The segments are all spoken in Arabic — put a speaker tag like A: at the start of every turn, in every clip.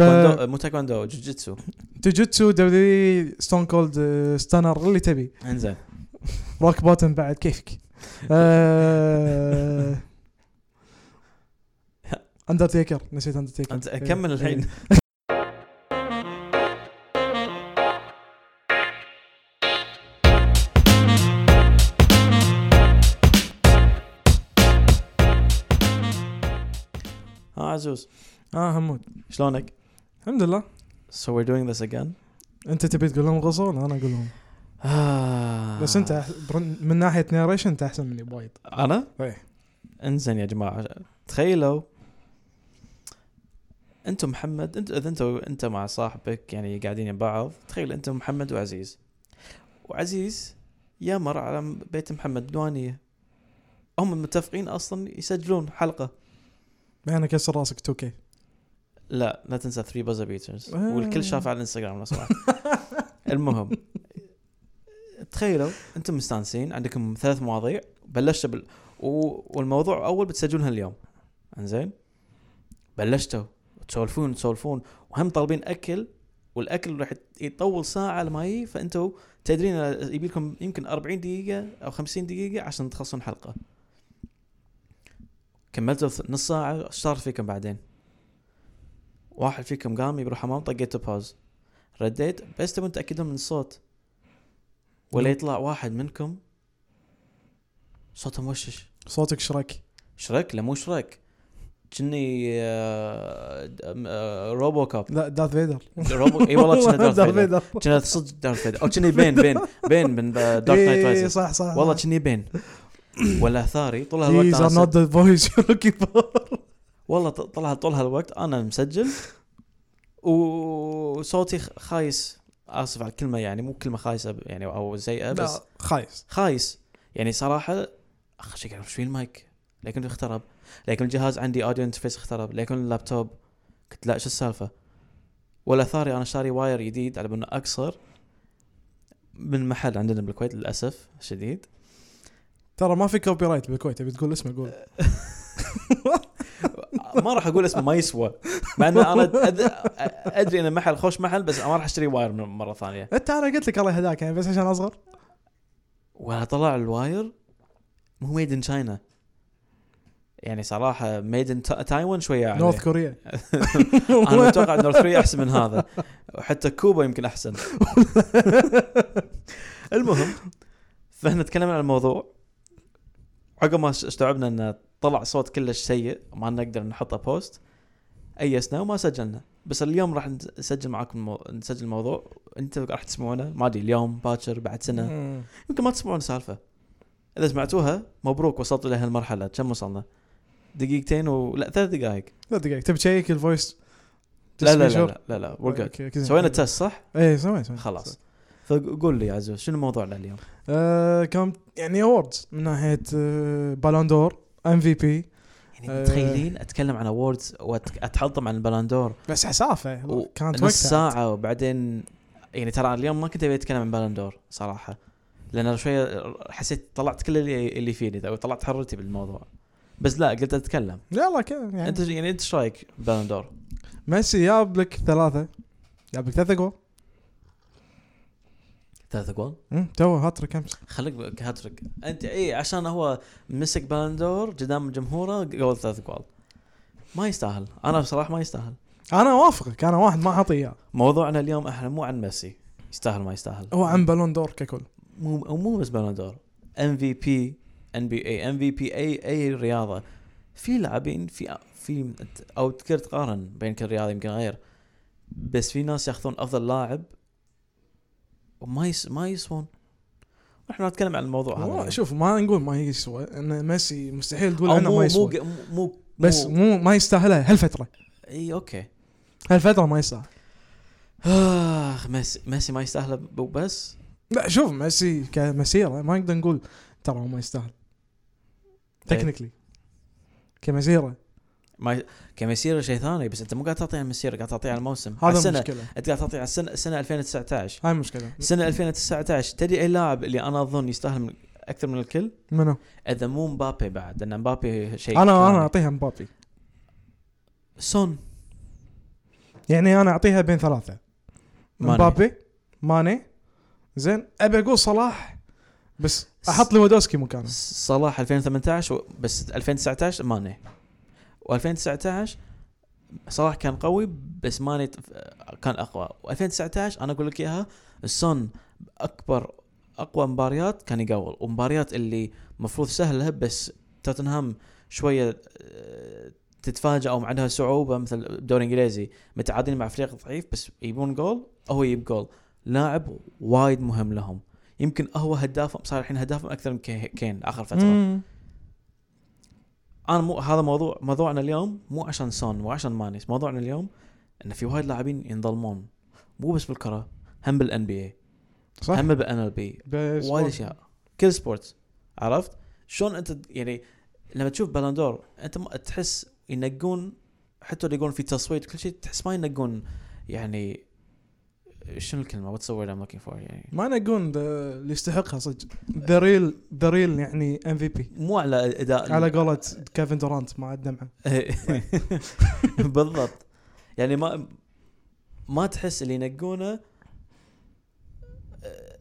A: تايكوندو مو تايكوندو جوجيتسو
B: جوجيتسو دبليو ستون كولد آه، ستانر اللي تبي
A: انزين
B: روك بوتن بعد كيفك آه، اندرتيكر نسيت اندرتيكر
A: أنت- كمل الحين ها عزوز
B: اه حمود
A: شلونك؟
B: الحمد لله
A: So we're doing this again
B: انت تبي تقول لهم غصه ولا انا اقول لهم
A: آه.
B: بس انت أح- برن- من ناحيه نيريشن انت احسن مني بوايد
A: انا؟
B: إيه.
A: انزين يا جماعه تخيلوا انتم محمد انت اذا انت انت مع صاحبك يعني قاعدين يم بعض تخيل انت محمد وعزيز وعزيز يمر على بيت محمد بدوانية هم متفقين اصلا يسجلون حلقه
B: انا كسر راسك 2K
A: لا لا تنسى 3 بازر بيترز
B: آه.
A: والكل شاف على الانستغرام لو سمحت المهم تخيلوا انتم مستانسين عندكم ثلاث مواضيع بلشتوا بال... و... والموضوع اول بتسجلونها اليوم انزين بلشتوا تسولفون تسولفون وهم طالبين اكل والاكل راح يطول ساعه لما يجي فانتوا تدرين يبي لكم يمكن 40 دقيقه او 50 دقيقه عشان تخلصون حلقه كملتوا نص ساعه ايش صار فيكم بعدين واحد فيكم قام يروح حمام طقيته باوز رديت بس تبون تاكدون من الصوت ولا
B: مم.
A: يطلع واحد منكم صوته موشش
B: صوتك شرك
A: شرك لا مو شرك كني آه، د- آه، روبو كاب
B: لا دارث فيدر
A: روبو اي والله كنا دارث فيدر
B: فيدر
A: كنا صدق دارث فيدر او كني بين بين بين من دارك نايت
B: اي
A: رايزز
B: صح صح
A: والله كني بين ولا ثاري طول
B: These
A: هالوقت
B: are
A: أنا
B: not the voice you're looking for
A: والله ط- طلع طول هالوقت انا مسجل وصوتي خ- خايس اسف على الكلمه يعني مو كلمه خايسه ب- يعني او سيئه بس
B: لا خايس
A: خايس يعني صراحه اخ شكله مش في المايك لكن اخترب لكن الجهاز عندي اوديو انترفيس اخترب لكن اللابتوب قلت لا شو السالفه ولا ثاري انا شاري واير جديد على انه اقصر من محل عندنا بالكويت للاسف شديد
B: ترى ما في كوبي رايت بالكويت تبي تقول اسمه قول
A: ما راح اقول اسمه ما يسوى مع ان انا أد- ادري انه محل خوش محل بس ما راح اشتري واير من- مره ثانيه
B: انت انا قلت لك الله يهداك يعني بس عشان اصغر
A: ولا طلع الواير مو ميد ان تشاينا يعني صراحه ميد ان تايوان شويه عليه
B: نورث كوريا
A: انا اتوقع نورث كوريا احسن من هذا وحتى كوبا يمكن احسن المهم فاحنا تكلمنا عن الموضوع عقب ما استوعبنا انه طلع صوت كلش سيء ما نقدر نحطه بوست ايسنا وما سجلنا بس اليوم راح نسجل معاكم المو... نسجل الموضوع انتم راح تسمعونه ما ادري اليوم باكر بعد سنه
B: مم.
A: يمكن ما تسمعون السالفه اذا سمعتوها مبروك وصلتوا لهالمرحله كم وصلنا؟ دقيقتين و لا ثلاث دقائق
B: لا دقيقة تبي تشيك الفويس
A: لا لا لا لا لا, لا. we're good. سوينا
B: تست
A: تست صح؟
B: ايه سوينا سوينا
A: خلاص فقول لي يا عزوز شنو موضوعنا اليوم؟
B: آه، كان يعني اووردز من ناحية آه، بالون دور ام في بي
A: يعني
B: آه.
A: متخيلين اتكلم عن اووردز واتحطم عن البالندور
B: بس حسافة
A: و-
B: كانت
A: نص
B: وقتها
A: ساعة وبعدين يعني ترى اليوم ما كنت ابي اتكلم عن بالندور صراحة لان شوية حسيت طلعت كل اللي اللي فيني او طلعت حرتي بالموضوع بس لا قلت اتكلم
B: يلا كذا يعني
A: انت يعني انت ايش رايك بالندور؟
B: ميسي جاب لك ثلاثة جاب لك ثلاثة جول
A: ثلاث اقوال
B: مم، تو هاتريك امس
A: خليك هاتريك انت اي إيه، عشان هو مسك بالندور قدام جمهوره قول ثلاث اقوال ما يستاهل انا بصراحة ما يستاهل
B: انا اوافقك انا واحد ما حاطيه اياه
A: موضوعنا اليوم احنا مو عن ميسي يستاهل ما يستاهل
B: هو عن بالون دور ككل
A: مو أو مو بس بالون دور ام في بي ان بي اي ام في بي اي اي رياضه في لاعبين في في او تقدر تقارن بين كل رياضه يمكن غير بس في ناس ياخذون افضل لاعب وما يس ما يسوون احنا نتكلم عن الموضوع هذا
B: هو
A: اليوم.
B: شوف ما نقول ما يسوى ان ميسي مستحيل تقول
A: أو
B: انه
A: مو
B: ما
A: مو
B: يسوى
A: مو مو
B: بس
A: مو
B: مو ما يستاهلها هالفترة
A: اي اوكي
B: هالفترة ما يستاهل
A: اخ ميسي ميسي ما يستاهله ب- بس
B: لا شوف ميسي كمسيره ما نقدر نقول ترى هو ما يستاهل تكنيكلي كمسيره
A: ما ي- كمسيره شيء ثاني بس انت مو قاعد تعطيه على المسيره قاعد تعطيه على الموسم على
B: هذا
A: السنه
B: المشكله
A: انت قاعد تعطي على السنه السنه 2019
B: هاي المشكله
A: سنه 2019 تدري اي لاعب اللي انا اظن يستاهل من اكثر من الكل
B: منو؟
A: اذا مو مبابي بعد لان إيه، مبابي شيء
B: انا انا
A: ثاني.
B: اعطيها مبابي
A: سون
B: يعني انا اعطيها بين ثلاثه
A: ماني.
B: مبابي ماني زين ابي اقول صلاح بس احط ليفاندوسكي مكانه
A: صلاح 2018 و- بس 2019 ماني و2019 صلاح كان قوي بس ماني ت- كان اقوى و2019 انا اقول لك اياها السون اكبر اقوى مباريات كان يقول ومباريات اللي مفروض سهله بس توتنهام شويه آه، تتفاجئ او عندها صعوبه مثل الدوري الانجليزي متعادلين مع فريق ضعيف بس يبون جول هو يجيب جول لاعب وايد مهم لهم يمكن هو هدافهم صار الحين هدافهم اكثر من كي- كين اخر فتره
B: مم.
A: انا مو هذا موضوع موضوعنا اليوم مو عشان سون مو عشان مانيس موضوعنا اليوم ان في وايد لاعبين ينظلمون مو بس بالكره هم بالان بي اي
B: صح
A: هم بالان ال بي
B: بس
A: وايد اشياء كل سبورت عرفت شلون انت يعني لما تشوف بالندور انت ما تحس ينقون حتى اللي يقولون في تصويت كل شيء تحس ما ينقون يعني شنو الكلمه واتس ذا وورد ام لوكينج فور يعني
B: ما نقول ذا- اللي يستحقها صدق ذا ريل ذا ريل يعني ام في بي
A: مو على اداء
B: على قولة كيفن دورانت مع الدمعه
A: إيه. بالضبط يعني ما ما تحس اللي ينقونه آه،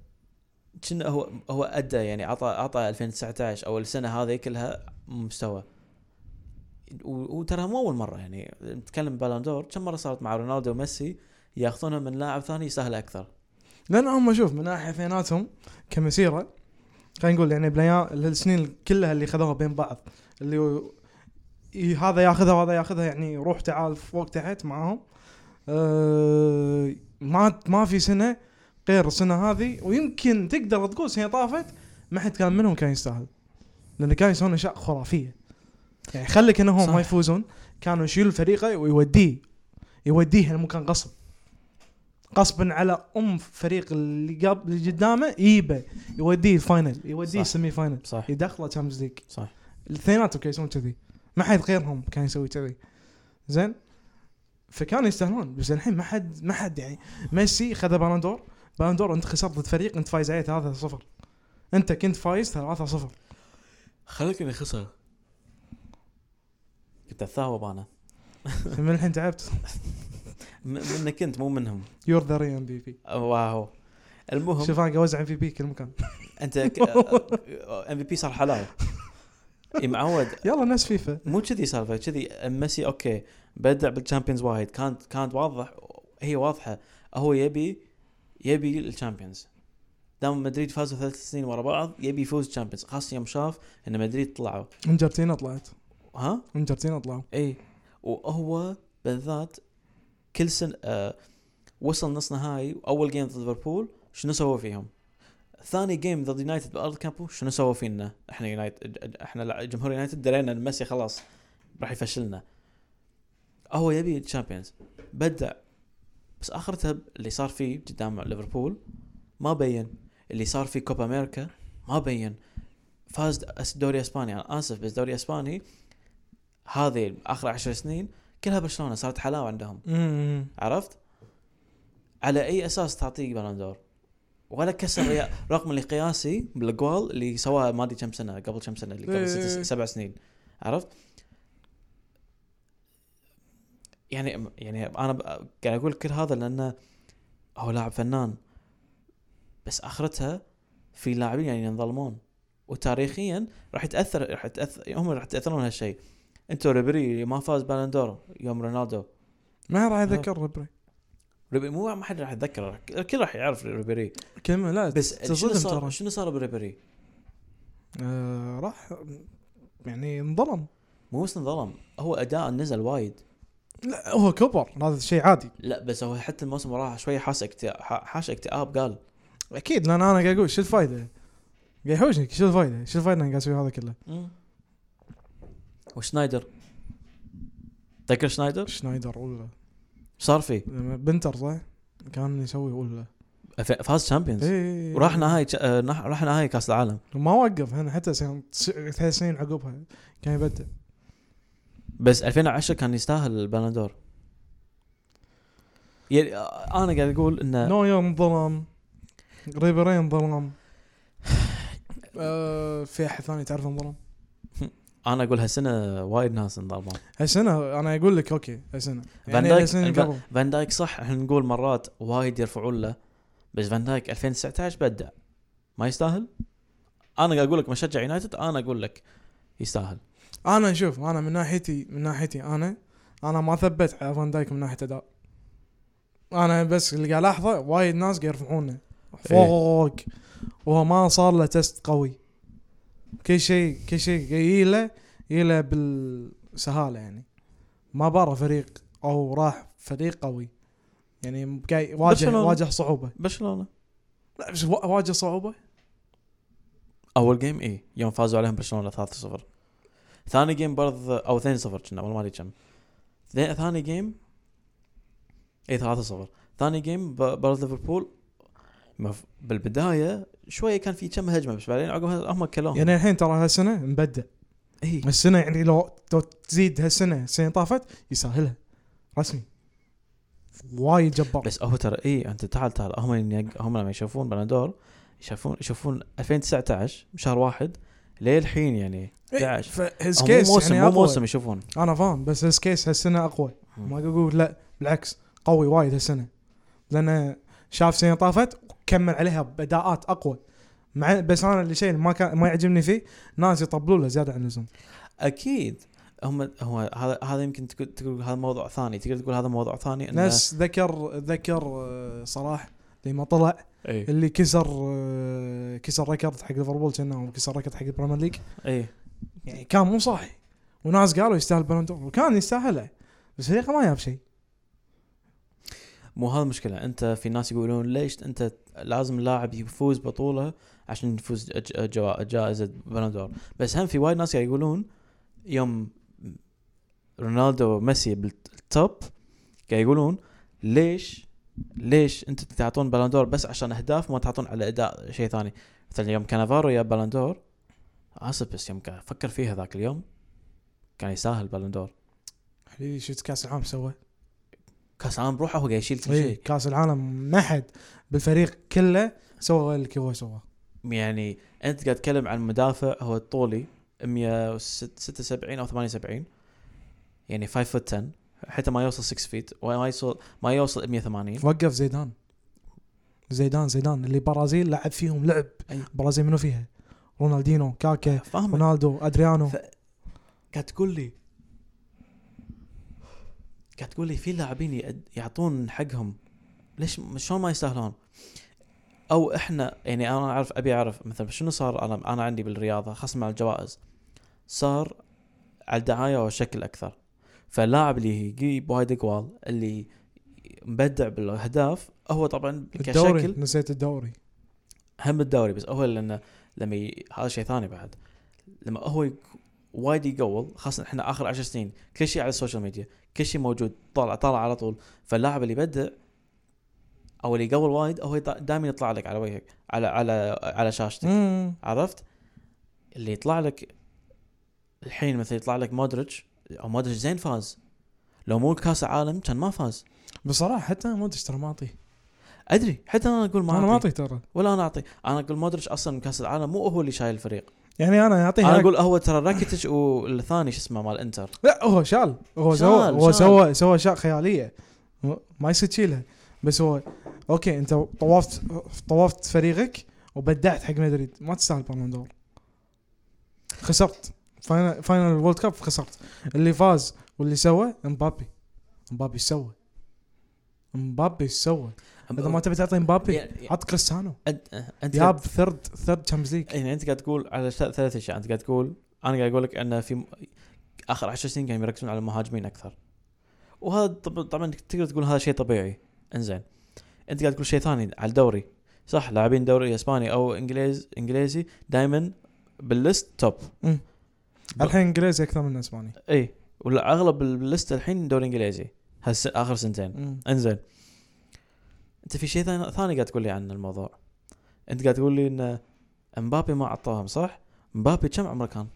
A: كنا هو هو ادى يعني عطى عطى 2019 او السنه هذه كلها مستوى و- وترى مو اول مره يعني نتكلم بالندور كم مره صارت مع رونالدو وميسي ياخذونها من لاعب ثاني يسهل اكثر
B: لان هم شوف من ناحيه اثنيناتهم كمسيره خلينا نقول يعني بليا- السنين كلها اللي خذوها بين بعض اللي هو- ي- هذا ياخذها وهذا ياخذها يعني روح تعال فوق تحت معاهم أه ما ما في سنه غير السنه هذه ويمكن تقدر تقول سنه طافت ما حد كان منهم كان يستاهل لان كان يسوون اشياء خرافيه يعني خلك انهم
A: صح.
B: ما يفوزون كانوا يشيلوا فريقه ويوديه يوديه المكان غصب غصبا على ام فريق اللي قبل اللي قدامه يجيبه يوديه الفاينل يوديه
A: صح.
B: السيمي فاينل
A: صح
B: يدخله تشامبيونز ليج
A: صح
B: الاثنيناتهم كانوا يسوون كذي ما حد غيرهم كان يسوي كذي زين فكانوا يستاهلون بس الحين ما حد ما حد يعني ميسي خذ بالندور بالندور انت خسرت ضد فريق انت فايز عليه 3-0 انت كنت فايز 3-0
A: خليك اني خسر كنت اتثاوب انا
B: من الحين تعبت
A: م- منك انت مو منهم
B: يور ذا ري ام بي بي
A: واو المهم
B: شوف انا اوزع ام في بي كل مكان
A: انت ام في بي صار حلال إي معود
B: يلا ناس فيفا
A: مو كذي سالفه كذي ميسي اوكي بدع بالشامبيونز وايد كانت كانت واضح هي واضحه هو يبي يبي الشامبيونز دام مدريد فازوا ثلاث سنين ورا بعض يبي يفوز الشامبيونز خاصه يوم شاف ان مدريد طلعوا
B: انجرتينا طلعت
A: ها
B: انجرتينا طلعوا
A: اي وهو بالذات كل سنه آه وصل نص نهائي واول جيم ضد ليفربول شنو سووا فيهم؟ ثاني جيم ضد يونايتد بارض كامبو شنو سووا فينا؟ احنا يونايتد احنا لع- جمهور يونايتد درينا ان ميسي خلاص راح يفشلنا. هو يبي الشامبيونز بدع بس اخرتها اللي صار فيه قدام ليفربول ما بين اللي صار فيه كوبا امريكا ما بين فاز أس- دوري اسباني انا اسف بس دوري اسباني هذه اخر عشر سنين كلها برشلونه صارت حلاوه عندهم عرفت؟ على اي اساس تعطيه بلندور؟ ولا كسر ريا- رقم اللي قياسي بالاقوال اللي سواها ما ادري كم سنه قبل كم سنه اللي
B: إيه.
A: قبل ست سبع سنين عرفت؟ يعني يعني انا ب- قاعد اقول كل هذا لانه هو لاعب فنان بس اخرتها في لاعبين يعني ينظلمون وتاريخيا راح يتاثر راح يتاثر هم راح يتاثرون من هالشيء انتو ريبري اللي ما فاز بالندور يوم رونالدو
B: ما
A: آه.
B: راح اذكر ربري
A: ريبيري مو ما حد راح يتذكره الكل راح يعرف ريبيري
B: كلمه لا
A: بس شنو
B: تصدم
A: صار
B: ترى
A: شنو صار بريبيري؟
B: آه راح يعني انظلم
A: مو بس انظلم هو اداء نزل وايد
B: لا آه، هو كبر هذا شيء عادي
A: لا بس هو حتى الموسم وراه شوي حاس اكتئاب حاش اكتئاب قال
B: اكيد لان انا قاعد اقول شو الفائده؟ قاعد يحوشني شو الفائده؟ شو الفائده انا قاعد اسوي هذا كله؟
A: وشنايدر تذكر شنايدر؟
B: شنايدر ولا
A: صار فيه؟
B: لما بنتر صح؟ كان يسوي ولا
A: ف- فاز تشامبيونز
B: اي
A: وراح نهائي ج- آه، نح- راح نهائي كاس العالم
B: وما وقف هنا حتى سنة- تس- ثلاث سنين عقبها كان يبدع
A: بس 2010 كان يستاهل البالندور يعني آه، انا قاعد اقول انه
B: نوير انظلم ريبيري انظلم آه، في احد ثاني تعرفه انظلم؟
A: انا اقول هالسنه وايد ناس انظلموا
B: هالسنه انا اقول لك اوكي هالسنه
A: فان
B: يعني
A: دايك
B: السنه اللي قبل
A: فان دايك صح احنا نقول مرات وايد يرفعون له بس فان دايك 2019 بدع ما يستاهل؟ انا قاعد اقول لك مشجع يونايتد انا اقول لك يستاهل
B: انا شوف انا من ناحيتي من ناحيتي انا انا ما ثبت على فان دايك من ناحيه اداء انا بس اللي قاعد الاحظه وايد ناس قاعد يرفعونه فوق وهو ما صار له تست قوي كل شيء كل شيء يجي له يجي له بالسهاله يعني ما برا فريق او راح فريق قوي يعني قاعد واجه
A: برشلونة.
B: واجه صعوبه
A: برشلونه
B: لا بس وا- واجه صعوبه
A: اول جيم اي إيه، يوم فازوا عليهم برشلونه 3-0 ثاني جيم برض او 2-0 كنا والله ما ادري كم ثا- ثاني جيم اي 3-0 ثاني جيم ب- برض ليفربول مف- بالبدايه شويه كان في كم هجمه بس بعدين عقبها هم إيه. كلوهم
B: يعني الحين ترى هالسنه مبدع
A: اي
B: السنه يعني لو لو تزيد هالسنه السنه اللي طافت يسهلها رسمي وايد جبار
A: بس هو ترى اي انت تعال تعال هم ين- هم لما يشوفون بلندور يشوفون يشوفون 2019 بشهر واحد للحين يعني 11
B: فهز
A: هم
B: إيه، كيس
A: آه، مو موسم
B: يعني
A: مو
B: أقوى.
A: موسم يشوفون
B: انا فاهم بس هز كيس هالسنه اقوى
A: مم.
B: ما اقول لا بالعكس قوي وايد هالسنه لانه شاف سنه طافت وكمل عليها باداءات اقوى مع بس انا اللي شيء ما كان ما يعجبني فيه ناس يطبلوا له زياده عن اللزوم
A: اكيد هم هو هذا هذا يمكن تقول تقول هذا موضوع ثاني تقدر تقول هذا موضوع ثاني إنه-
B: ناس ذكر ذكر آه، صلاح لما طلع
A: اي
B: اللي كسر آه، كسر ريكورد حق ليفربول كانه أو كسر ريكورد حق البريمير ليج
A: اي
B: يعني كان مو صاحي وناس قالوا يستاهل بالون دور وكان يستاهله بس فريقه ما جاب شيء
A: مو هذا المشكله انت في ناس يقولون ليش انت لازم لاعب يفوز بطوله عشان يفوز ج- جوا- جائزه بلندور بس هم في وايد ناس قاعد يقولون يوم رونالدو وميسي بالتوب قاعد يقولون ليش ليش انت تعطون بلندور بس عشان اهداف ما تعطون على اداء شيء ثاني مثلا يوم كانافارو جاب بلندور اسف بس يوم قاعد افكر فيها ذاك اليوم كان يساهل بلندور
B: حبيبي شفت كاس العالم سوى
A: كاس العالم بروحه هو قاعد يشيل كل
B: إيه،
A: شيء
B: كاس العالم ما حد بالفريق كله سوى غير اللي هو سواه
A: يعني انت قاعد تتكلم عن مدافع هو طولي 176 او 78 يعني 5 فوت 10 حتى ما يوصل 6 فيت وما يوصل ما يوصل 180
B: وقف زيدان زيدان زيدان اللي برازيل لعب فيهم لعب
A: أي.
B: برازيل منو فيها رونالدينو كاكا
A: فاهم
B: رونالدو ادريانو
A: ف- قاعد تقول لي قاعد تقول لي في لاعبين يأد- يعطون حقهم ليش شلون ما يستاهلون؟ او احنا يعني انا اعرف ابي اعرف مثلا شنو صار انا انا عندي بالرياضه خاصه مع الجوائز صار على الدعايه والشكل اكثر فاللاعب اللي يجيب وايد اقوال اللي مبدع بالاهداف هو طبعا
B: الدوري
A: كشكل
B: نسيت الدوري
A: هم الدوري بس هو لانه لما ي... هذا شيء ثاني بعد لما هو يك- وايد يقول خاصه احنا اخر عشر سنين كل شيء على السوشيال ميديا كل شيء موجود طالع طالع على طول فاللاعب اللي يبدع او اللي يقول وايد هو دائما يطلع لك على وجهك على على على شاشتك
B: مم.
A: عرفت اللي يطلع لك الحين مثلا يطلع لك مودريتش او مودريتش زين فاز لو مو كاس عالم كان ما فاز
B: بصراحه حتى ما أدري إيش ترى ما اعطيه
A: ادري حتى انا اقول ما
B: انا ما
A: أعطيه.
B: اعطيه ترى
A: ولا انا اعطيه انا اقول مودريتش اصلا كاس العالم مو هو اللي شايل الفريق
B: يعني انا اعطيه
A: انا
B: هناك-
A: اقول هو ترى راكيتش والثاني شو اسمه مال انتر
B: لا هو شال هو
A: شال-
B: سوى هو
A: شال.
B: سوى سوى اشياء خياليه ما يصير تشيلها بس هو اوكي انت طوفت طوفت فريقك وبدعت حق مدريد ما تستاهل بالون دور خسرت فاينل فاينل الورد كاب خسرت اللي فاز واللي سوى مبابي مبابي ايش سوى مبابي ايش سوى اذا ما تبي تعطي مبابي
A: يعني-
B: عط كريستيانو
A: أه، أنت- انت
B: جاب ثيرد ثيرد تشامبيونز ليج
A: يعني انت قاعد تقول على ث- ثلاث اشياء انت قاعد تقول انا قاعد اقول لك ان في م- اخر عشر سنين كانوا يركزون على المهاجمين اكثر وهذا طب- طبعا تقدر تقول هذا شيء طبيعي انزين انت قاعد تقول شيء ثاني على الدوري صح لاعبين دوري اسباني او انجليز انجليزي دائما بالليست توب
B: الحين انجليزي اكثر من اسباني
A: اي إيه، ولا اغلب الليست الحين دوري انجليزي هالس اخر سنتين
B: مم.
A: انزين انت في شيء ثاني ثاني قاعد تقول لي عن الموضوع انت قاعد تقول لي ان مبابي ما اعطاهم صح مبابي كم عمره كان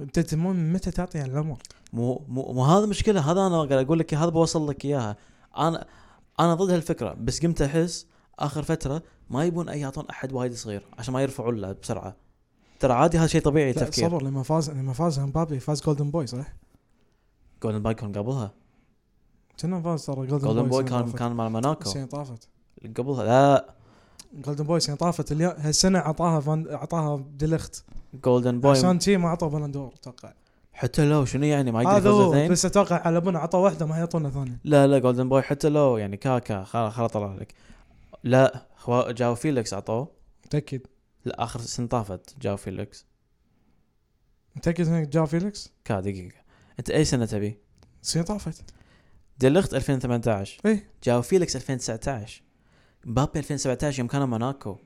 B: انت تهتمون متى تعطي على العمر
A: مو مو مو هذا مشكله هذا انا قاعد اقول لك هذا بوصل لك اياها انا انا ضد هالفكره بس قمت احس اخر فتره ما يبون اي يعطون احد وايد صغير عشان ما يرفعوا له بسرعه ترى عادي هذا شيء طبيعي
B: لا
A: التفكير
B: صبر لما فاز لما فاز امبابي فاز جولدن بوي صح؟
A: جولدن باي كان قبلها
B: كنا فاز ترى جولدن,
A: جولدن بوي
B: سنة
A: كان
B: طافت.
A: كان مال موناكو
B: السنه طافت
A: قبلها لا
B: جولدن بوي السنه طافت اليا- هالسنه عطاها فان عطاها ديليخت
A: جولدن بوي
B: عشان شي ما عطوا بلندور اتوقع
A: حتى لو شنو يعني ما يقدر
B: هذا
A: يفوز
B: هو
A: اثنين
B: بس اتوقع على بنا عطوا واحده ما يعطونا ثانيه
A: لا لا جولدن بوي حتى لو يعني كاكا خلا خلا طلع لك لا خوا- جاو فيليكس عطوه
B: متاكد
A: لا اخر سنه طافت جاو فيليكس
B: متاكد انك جا فيليكس
A: كا دقيقه انت اي سنه تبي؟
B: السنه طافت
A: ديليخت 2018
B: ايه
A: جاو فيليكس 2019 مبابي 2017 يوم كان موناكو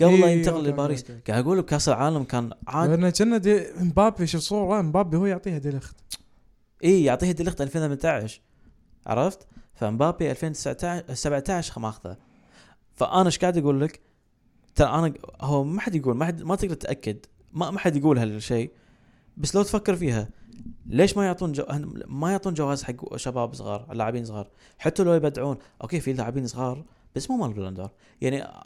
A: قبل لا
B: إيه،
A: ينتقل
B: أوكي،
A: لباريس
B: أوكي، أوكي.
A: قاعد اقول بكاس العالم كان عاد
B: لان كنا دي- مبابي شوف صوره مبابي هو يعطيها ديليخت
A: اي يعطيه ديليخت 2018 عرفت؟ فمبابي 2019 17 ماخذه فانا ايش قاعد اقول لك؟ ترى انا هو ما حد يقول ما حد ما تقدر تتاكد ما ما حد يقول هالشيء بس لو تفكر فيها ليش ما يعطون جو... ما يعطون جواز حق شباب صغار لاعبين صغار حتى لو يبدعون اوكي في لاعبين صغار بس مو مال بلندر يعني انا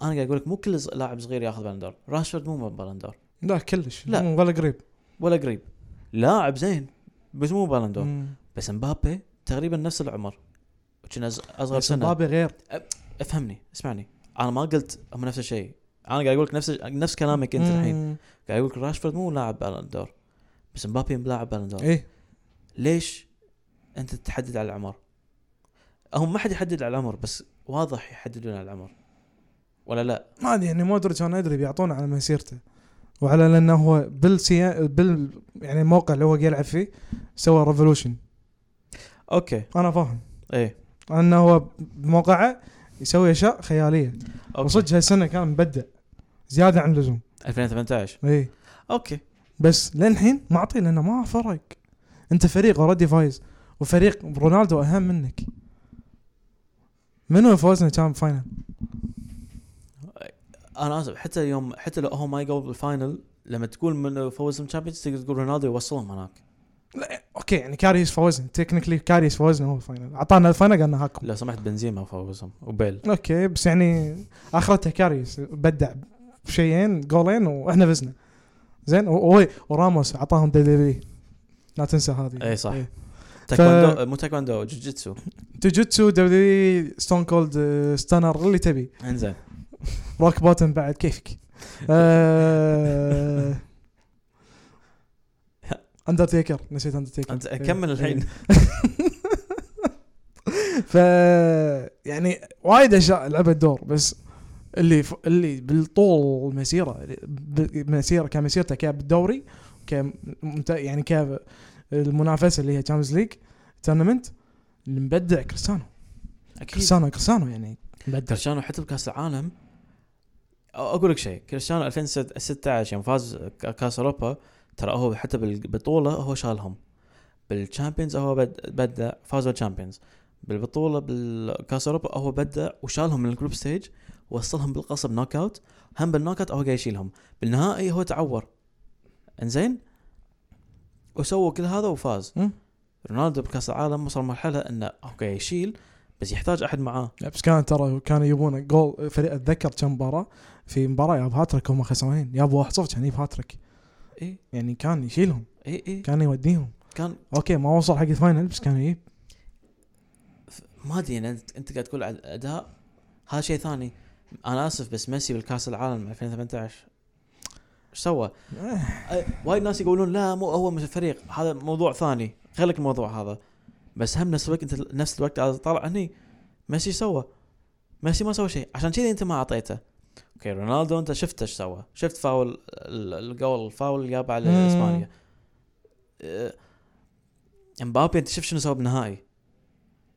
A: قاعد اقول لك مو كل ز- لاعب صغير ياخذ بلندر راشفورد مو مال بلندر
B: لا كلش
A: لا.
B: لا ولا قريب
A: ولا قريب لاعب زين بس مو بلندر
B: مم.
A: بس مبابي تقريبا نفس العمر كنا أز- اصغر
B: بس
A: سنه
B: مبابي غير
A: افهمني اسمعني انا ما قلت هم نفس الشيء انا قاعد اقول لك نفس نفس كلامك انت الحين
B: مم.
A: قاعد اقول لك راشفورد مو لاعب بالندور بس مبابي لاعب بالندور
B: ايه
A: ليش انت تحدد على العمر؟ هم ما حد يحدد على العمر بس واضح يحددون على العمر ولا لا؟
B: ما ادري يعني مودريتش انا ادري بيعطونه على مسيرته وعلى لانه هو بالسيا بال يعني الموقع اللي هو قاعد يلعب فيه سوى ريفولوشن
A: اوكي
B: انا فاهم
A: ايه
B: انه هو بموقعه يسوي اشياء خياليه
A: اوكي
B: وصدق هالسنه كان مبدع زياده عن اللزوم
A: 2018
B: اي
A: اوكي
B: بس للحين ما اعطيه لانه ما فرق انت فريق اوريدي فايز وفريق رونالدو اهم منك منو فوزنا كان فاينل؟
A: انا اسف حتى يوم حتى لو هو ما يقول بالفاينل لما تقول من فوز الشامبيونز تقدر تقول رونالدو يوصلهم هناك
B: اوكي يعني كاريس فوزنا تكنيكلي كاريس فوزنا هو الفاينل اعطانا الفاينل قالنا هاكم
A: لو سمحت بنزيما فوزهم وبيل
B: اوكي بس يعني اخرته كاريس بدع بشيئين جولين واحنا فزنا زين و- و- وراموس اعطاهم دليلي لا تنسى هذه
A: إي إيه، صح.
B: إي.
A: تايكوندو مو تايكوندو جوجيتسو
B: جوجيتسو دبليو ستون كولد آه، ستانر اللي تبي
A: انزين
B: روك بوتن بعد كيفك آه، اندرتيكر نسيت اندرتيكر
A: انت
B: إي.
A: كمل الحين
B: ف يعني وايد اشياء لعبت دور بس اللي ف... اللي بالطول المسيره ب- مسيره كمسيرته كبالدوري ك ممت- يعني ك المنافسه اللي هي تشامبيونز ليج تورنمنت المبدع كريستيانو
A: اكيد
B: كريستيانو كريستيانو يعني مبدع
A: كريستيانو حتى بكاس العالم أ- اقول لك شيء كريستيانو 2016 يوم فاز ك- كاس اوروبا ترى هو حتى بالبطوله هو شالهم بالشامبيونز هو بد- بدع فازوا الشامبيونز بالبطوله بالكاس اوروبا هو بدع وشالهم من الجروب ستيج وصلهم بالقصب نوك اوت هم بالنوك اوت هو قاعد يشيلهم بالنهائي هو تعور انزين وسووا كل هذا وفاز
B: مم.
A: رونالدو بكاس العالم وصل مرحله انه اوكي يشيل بس يحتاج احد معاه
B: لا، بس كان ترى كانوا يبون جول فريق اتذكر كم مباراه في مباراه ياب هاتريك هم خسرانين يابوا 1-0 كان يجيب هاتريك
A: اي
B: يعني كان يشيلهم
A: اي اي
B: كان يوديهم
A: كان
B: اوكي ما وصل حق الفاينل بس كان يجيب
A: ما ادري يعني انت انت قاعد تقول على الاداء هذا شيء ثاني انا اسف بس ميسي بالكاس العالم 2018 ايش سوى؟ أي- وايد ناس يقولون لا مو هو مش الفريق هذا موضوع ثاني خليك الموضوع هذا بس هم نفس الوقت انت نفس الوقت قاعد تطالع هني ميسي إيش سوى؟ ميسي ما سوى شيء عشان كذي انت ما اعطيته اوكي رونالدو انت شفت ايش سوى شفت فاول ال- الجول الفاول اللي جابه على
B: مم.
A: اسبانيا أه، امبابي انت شفت شنو سوى بالنهائي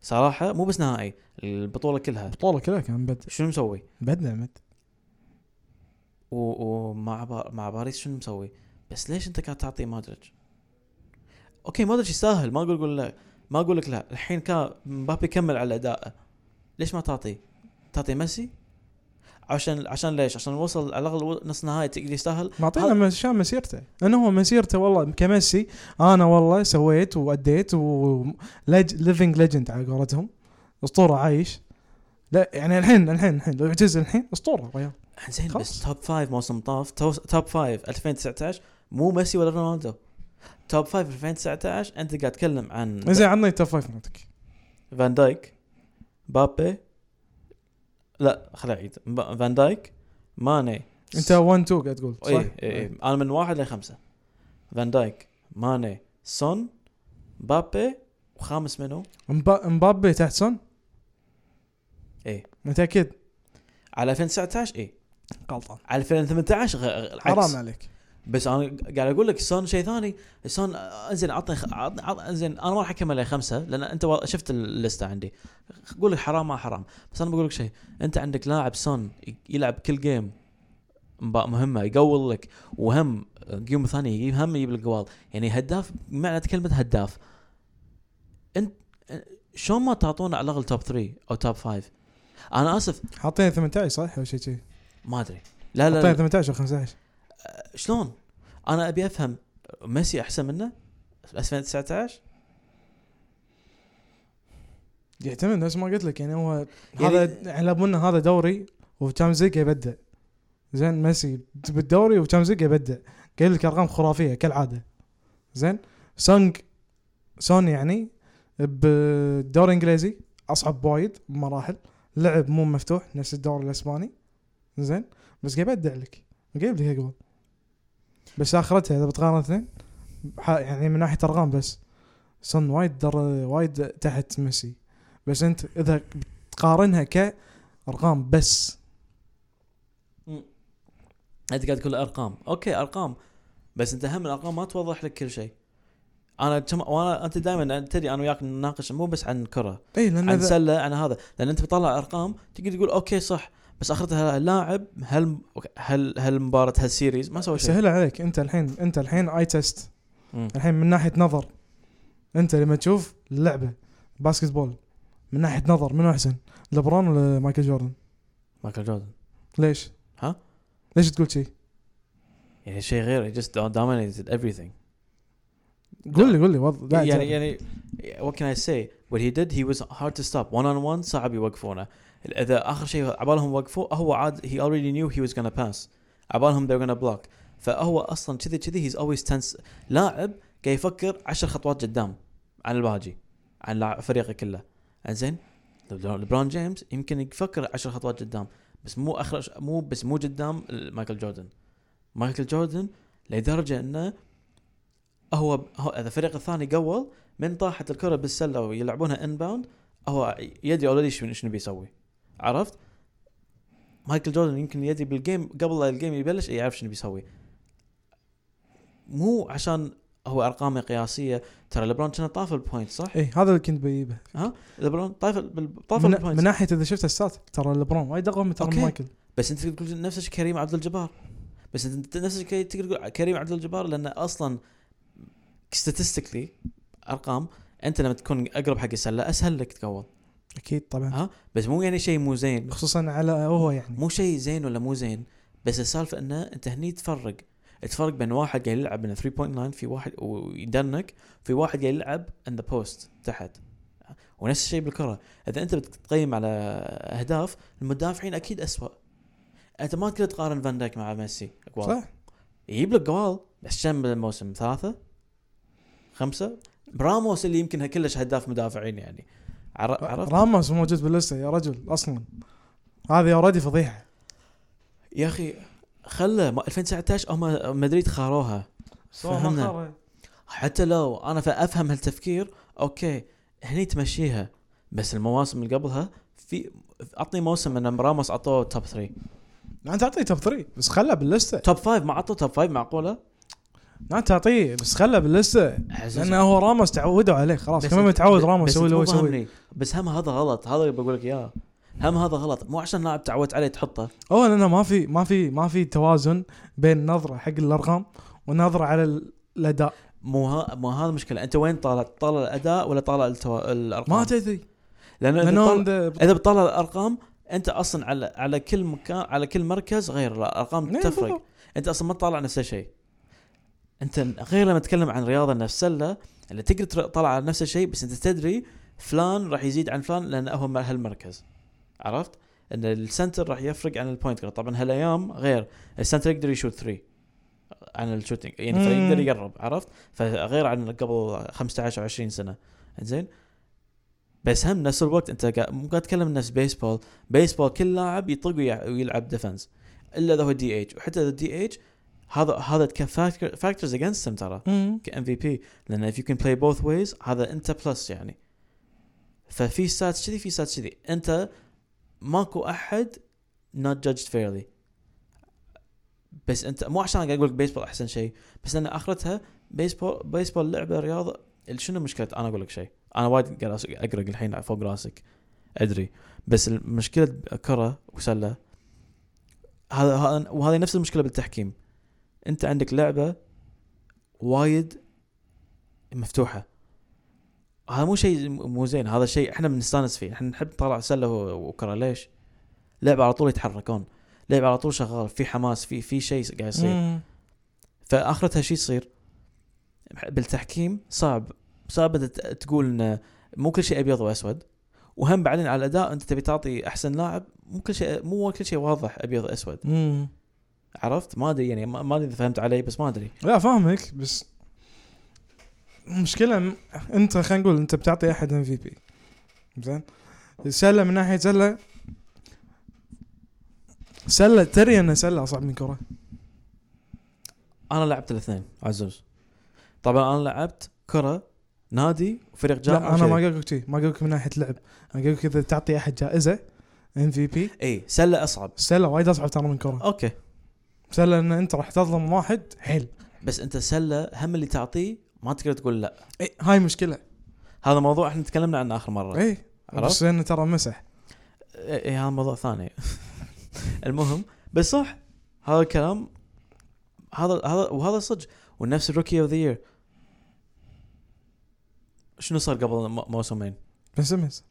A: صراحه مو بس نهائي البطوله كلها
B: البطوله كلها كان بدع
A: شنو مسوي
B: بدع مد
A: و- ومع با- مع باريس شنو مسوي بس ليش انت قاعد تعطي مودريتش اوكي مودريتش يستاهل ما اقول اقول لا ما اقول لك لا الحين كا مبابي كمل على ادائه ليش ما تعطي تعطي ميسي عشان عشان ليش عشان وصل على الاقل نص نهائي تقدر يستاهل
B: معطينا
A: هذا-
B: مس- عشان مسيرته انه هو مسيرته والله كميسي انا والله سويت واديت و ليفنج ليجند على قولتهم اسطوره عايش لا يعني الحين الحين الحين لو يعتزل الحين اسطوره ريال
A: زين بس
B: خلاص.
A: توب فايف موسم طاف توس- توب فايف 2019 مو ميسي ولا رونالدو توب فايف 2019 انت قاعد تتكلم عن
B: زين عطني التوب فايف مالتك
A: فان دايك بابي لا خليني اعيد مب- فان دايك ماني
B: انت 1 2 قاعد تقول صح؟
A: اي اي اي انا إيه، من واحد لخمسه فان دايك ماني سون بابي وخامس منو؟
B: مبا- مبابي تحت سون؟
A: اي
B: متاكد؟
A: على 2019 اي
B: غلطان
A: على 2018 غ... غ- العكس
B: حرام عليك
A: بس انا قاعد اقول لك سون شيء ثاني سون آه، انزين عطني خ- عطني عط- انزين انا ما راح اكمل إلى خمسه لان انت وا- شفت الليسته عندي اقول لك حرام ما حرام بس انا بقول لك شيء انت عندك لاعب سون ي- يلعب كل جيم مبا- مهمه يقول لك وهم جيم ثانيه يجيب هم يجيب لك جوال يعني هداف معنى كلمه هداف انت آه، شلون ما تعطونا على الاقل توب 3 او توب 5 انا اسف
B: حاطين 18 صح او شيء كذي
A: ما ادري لا لا,
B: حاطين
A: لا
B: 18 او 15
A: شلون؟ انا ابي افهم ميسي احسن منه 2019
B: يعتمد نفس ما قلت لك يعني هو
A: يعني-
B: هذا على بنا هذا دوري وتشامزيج يبدع زين ميسي بالدوري وتشامزيج يبدع قال لك ارقام خرافيه كالعاده زين سونج سون يعني بالدوري الانجليزي اصعب وايد بمراحل لعب مو مفتوح نفس الدوري الاسباني زين بس قاعد يبدع لك قاعد لك اقوى بس اخرتها اذا بتقارن اثنين ح- يعني من ناحيه ارقام بس سون وايد در وايد تحت ميسي بس انت اذا تقارنها كارقام بس
A: انت قاعد تقول ارقام اوكي ارقام بس انت هم الارقام ما توضح لك كل شيء انا كم وانا انت دائما تدري انا وياك نناقش مو بس عن كره
B: اي لان
A: عن
B: اذا
A: سله عن هذا لان انت بتطلع ارقام تقدر تقول اوكي صح بس اخرتها اللاعب هل هل هل مباراه هالسيريز ما سوى شيء
B: سهل عليك انت الحين انت الحين اي تيست
A: مم.
B: الحين من ناحيه نظر انت لما تشوف اللعبه باسكت بول من ناحيه نظر منو احسن لبرون ولا مايكل جوردن
A: مايكل جوردن
B: ليش
A: ها؟
B: ليش تقول شي
A: يعني شيء غير he just dominated everything
B: قول لي قول لي وض... لا
A: يعني
B: يعني
A: يعني what can I say what he did he was hard to stop one on one صعب يوقفونه اذا اخر شيء عبالهم وقفوه هو عاد he already knew he was gonna pass عبالهم they're gonna block فهو اصلا كذي كذي he's always tense لاعب قاعد يفكر عشر خطوات قدام عن الباجي عن لاع- فريقه كله انزين لبرون لبرون جيمس يمكن يفكر عشر خطوات قدام بس مو اخر ش- مو بس مو قدام مايكل جوردن مايكل جوردن لدرجه انه هو هو- اذا الفريق الثاني قول من طاحت الكره بالسله ويلعبونها انباوند هو يدري اوريدي شنو شنو بيسوي عرفت؟ مايكل جوردن يمكن يدري بالجيم قبل لا الجيم يبلش يعرف شنو بيسوي مو عشان هو ارقامه قياسيه ترى لبرون كان طاف البوينت صح؟
B: اي إيه، هذا اللي كنت بجيبه
A: لبرون طاف ال- طاف
B: من, من
A: البوينت
B: ناحيه اذا شفت السات ترى لبرون وايد اقوى من ترى
A: أوكي.
B: مايكل
A: بس انت تقدر تقول نفس الشيء كريم عبد الجبار بس انت نفس الشيء تقدر تقول كريم عبد الجبار لانه اصلا statistically ارقام انت لما تكون اقرب حق السله اسهل لك تقول
B: اكيد طبعا
A: ها بس مو يعني شيء مو زين
B: خصوصا على هو يعني
A: مو شيء زين ولا مو زين بس السالفه انه انت هني تفرق تفرق بين واحد قاعد يلعب من 3.9 في واحد ويدنك في واحد قاعد يلعب ان ذا بوست تحت ونفس الشيء بالكره اذا انت بتقيم على اهداف المدافعين اكيد اسوء انت ما تقدر تقارن فان دايك مع ميسي أقوال.
B: صح
A: يجيب لك جوال بس كم الموسم ثلاثة خمسة براموس اللي يمكن كلش هداف مدافعين يعني عر- عرفت
B: راموس مو موجود باللسته يا رجل اصلا هذه اوريدي فضيحه
A: يا اخي خله ما- 2019 هم مدريد خاروها فهمنا. حتى لو انا افهم هالتفكير اوكي هني تمشيها بس المواسم اللي قبلها في اعطني موسم ان راموس عطوه توب 3
B: لا انت اعطيه توب 3 بس خله باللسته
A: توب 5 ما عطوه توب 5 معقوله؟
B: لا انت اعطيه بس خله باللسته لانه هو راموس تعودوا عليه خلاص كمان متعود راموس يسوي اللي هو يسوي
A: يسوي بس هم هذا غلط هذا اللي بقول لك اياه هم هذا غلط مو عشان لاعب تعودت عليه تحطه
B: هو لانه ما في ما في ما في توازن بين نظره حق الارقام ونظره على ال- الاداء
A: مو ها مو هذا مشكله انت وين طالع طالع الاداء ولا طالع التو... الارقام؟
B: ما تدري
A: لانه إذا طالع-
B: لانه عنده-
A: اذا بتطلع الارقام انت اصلا على على كل مكان على كل مركز غير الارقام
B: نعم،
A: تفرق
B: بالضبط.
A: انت اصلا ما تطلع نفس الشيء انت غير لما تتكلم عن رياضه نفس سله اللي تقدر تر- تطلع على نفس الشيء بس انت تدري فلان راح يزيد عن فلان لانه هو من هالمركز عرفت؟ ان السنتر راح يفرق عن البوينت جارد طبعا هالايام غير السنتر يقدر يشوت 3 عن الشوتنج يعني
B: مم.
A: فيقدر يقرب عرفت فغير عن قبل 15 او 20 سنه زين بس هم نفس الوقت انت قاعد مو قاعد تتكلم نفس بيسبول بيسبول كل لاعب يطق ويع- ويلعب ديفنس الا اذا هو دي اتش وحتى اذا دي اتش هذا هذا فاكتورز اجينستهم ترى
B: مم.
A: كام في بي لان if you can play both ways هذا انت بلس يعني ففي ساتس كذي في ساتس كذي انت ماكو احد not judged fairly بس انت مو عشان قاعد اقول لك بيسبول احسن شيء بس لان اخرتها بيسبول بيسبول لعبه رياضه شنو مشكله انا اقول لك شيء انا وايد قاعد أس- اقرق الحين فوق راسك ادري بس المشكله كره وسله هذا هذا- وهذه نفس المشكله بالتحكيم انت عندك لعبه وايد مفتوحه هذا مو شيء مو زين هذا شيء احنا بنستانس فيه احنا نحب نطلع سله و- وكره ليش؟ لعبه على طول يتحركون لعبه على طول شغال في حماس في في شيء قاعد يصير
B: مم.
A: فاخرتها شو يصير؟ بالتحكيم صعب صعب أنت ت- تقول انه مو كل شيء ابيض واسود وهم بعدين على الاداء انت تبي تعطي احسن لاعب مو كل شيء مو كل شيء واضح ابيض اسود
B: مم.
A: عرفت ما ادري يعني ما ما ادري اذا فهمت علي بس ما ادري
B: لا فاهمك بس المشكله م- انت خلينا نقول انت بتعطي احد ام في بي زين السله من ناحيه سله سله تري ان سله اصعب من كره
A: انا لعبت الاثنين عزوز طبعا انا لعبت كره نادي وفريق جامعه
B: لا انا ما قلت لك شي، ما قلت لك من ناحيه لعب انا قلت لك اذا تعطي احد جائزه ام في بي
A: اي سله اصعب
B: السله وايد اصعب ترى من كره
A: اوكي
B: سله ان انت راح تظلم واحد حيل
A: بس انت سله هم اللي تعطيه ما تقدر تقول لا
B: اي هاي مشكله
A: هذا موضوع احنا تكلمنا عنه اخر مره
B: اي
A: عرفت؟
B: بس انه ترى مسح
A: اي إيه، هذا موضوع ثاني المهم بس صح هذا الكلام هذا هذا وهذا صدق ونفس الروكي اوف ذا يير شنو صار قبل م- موسمين؟
B: بس مس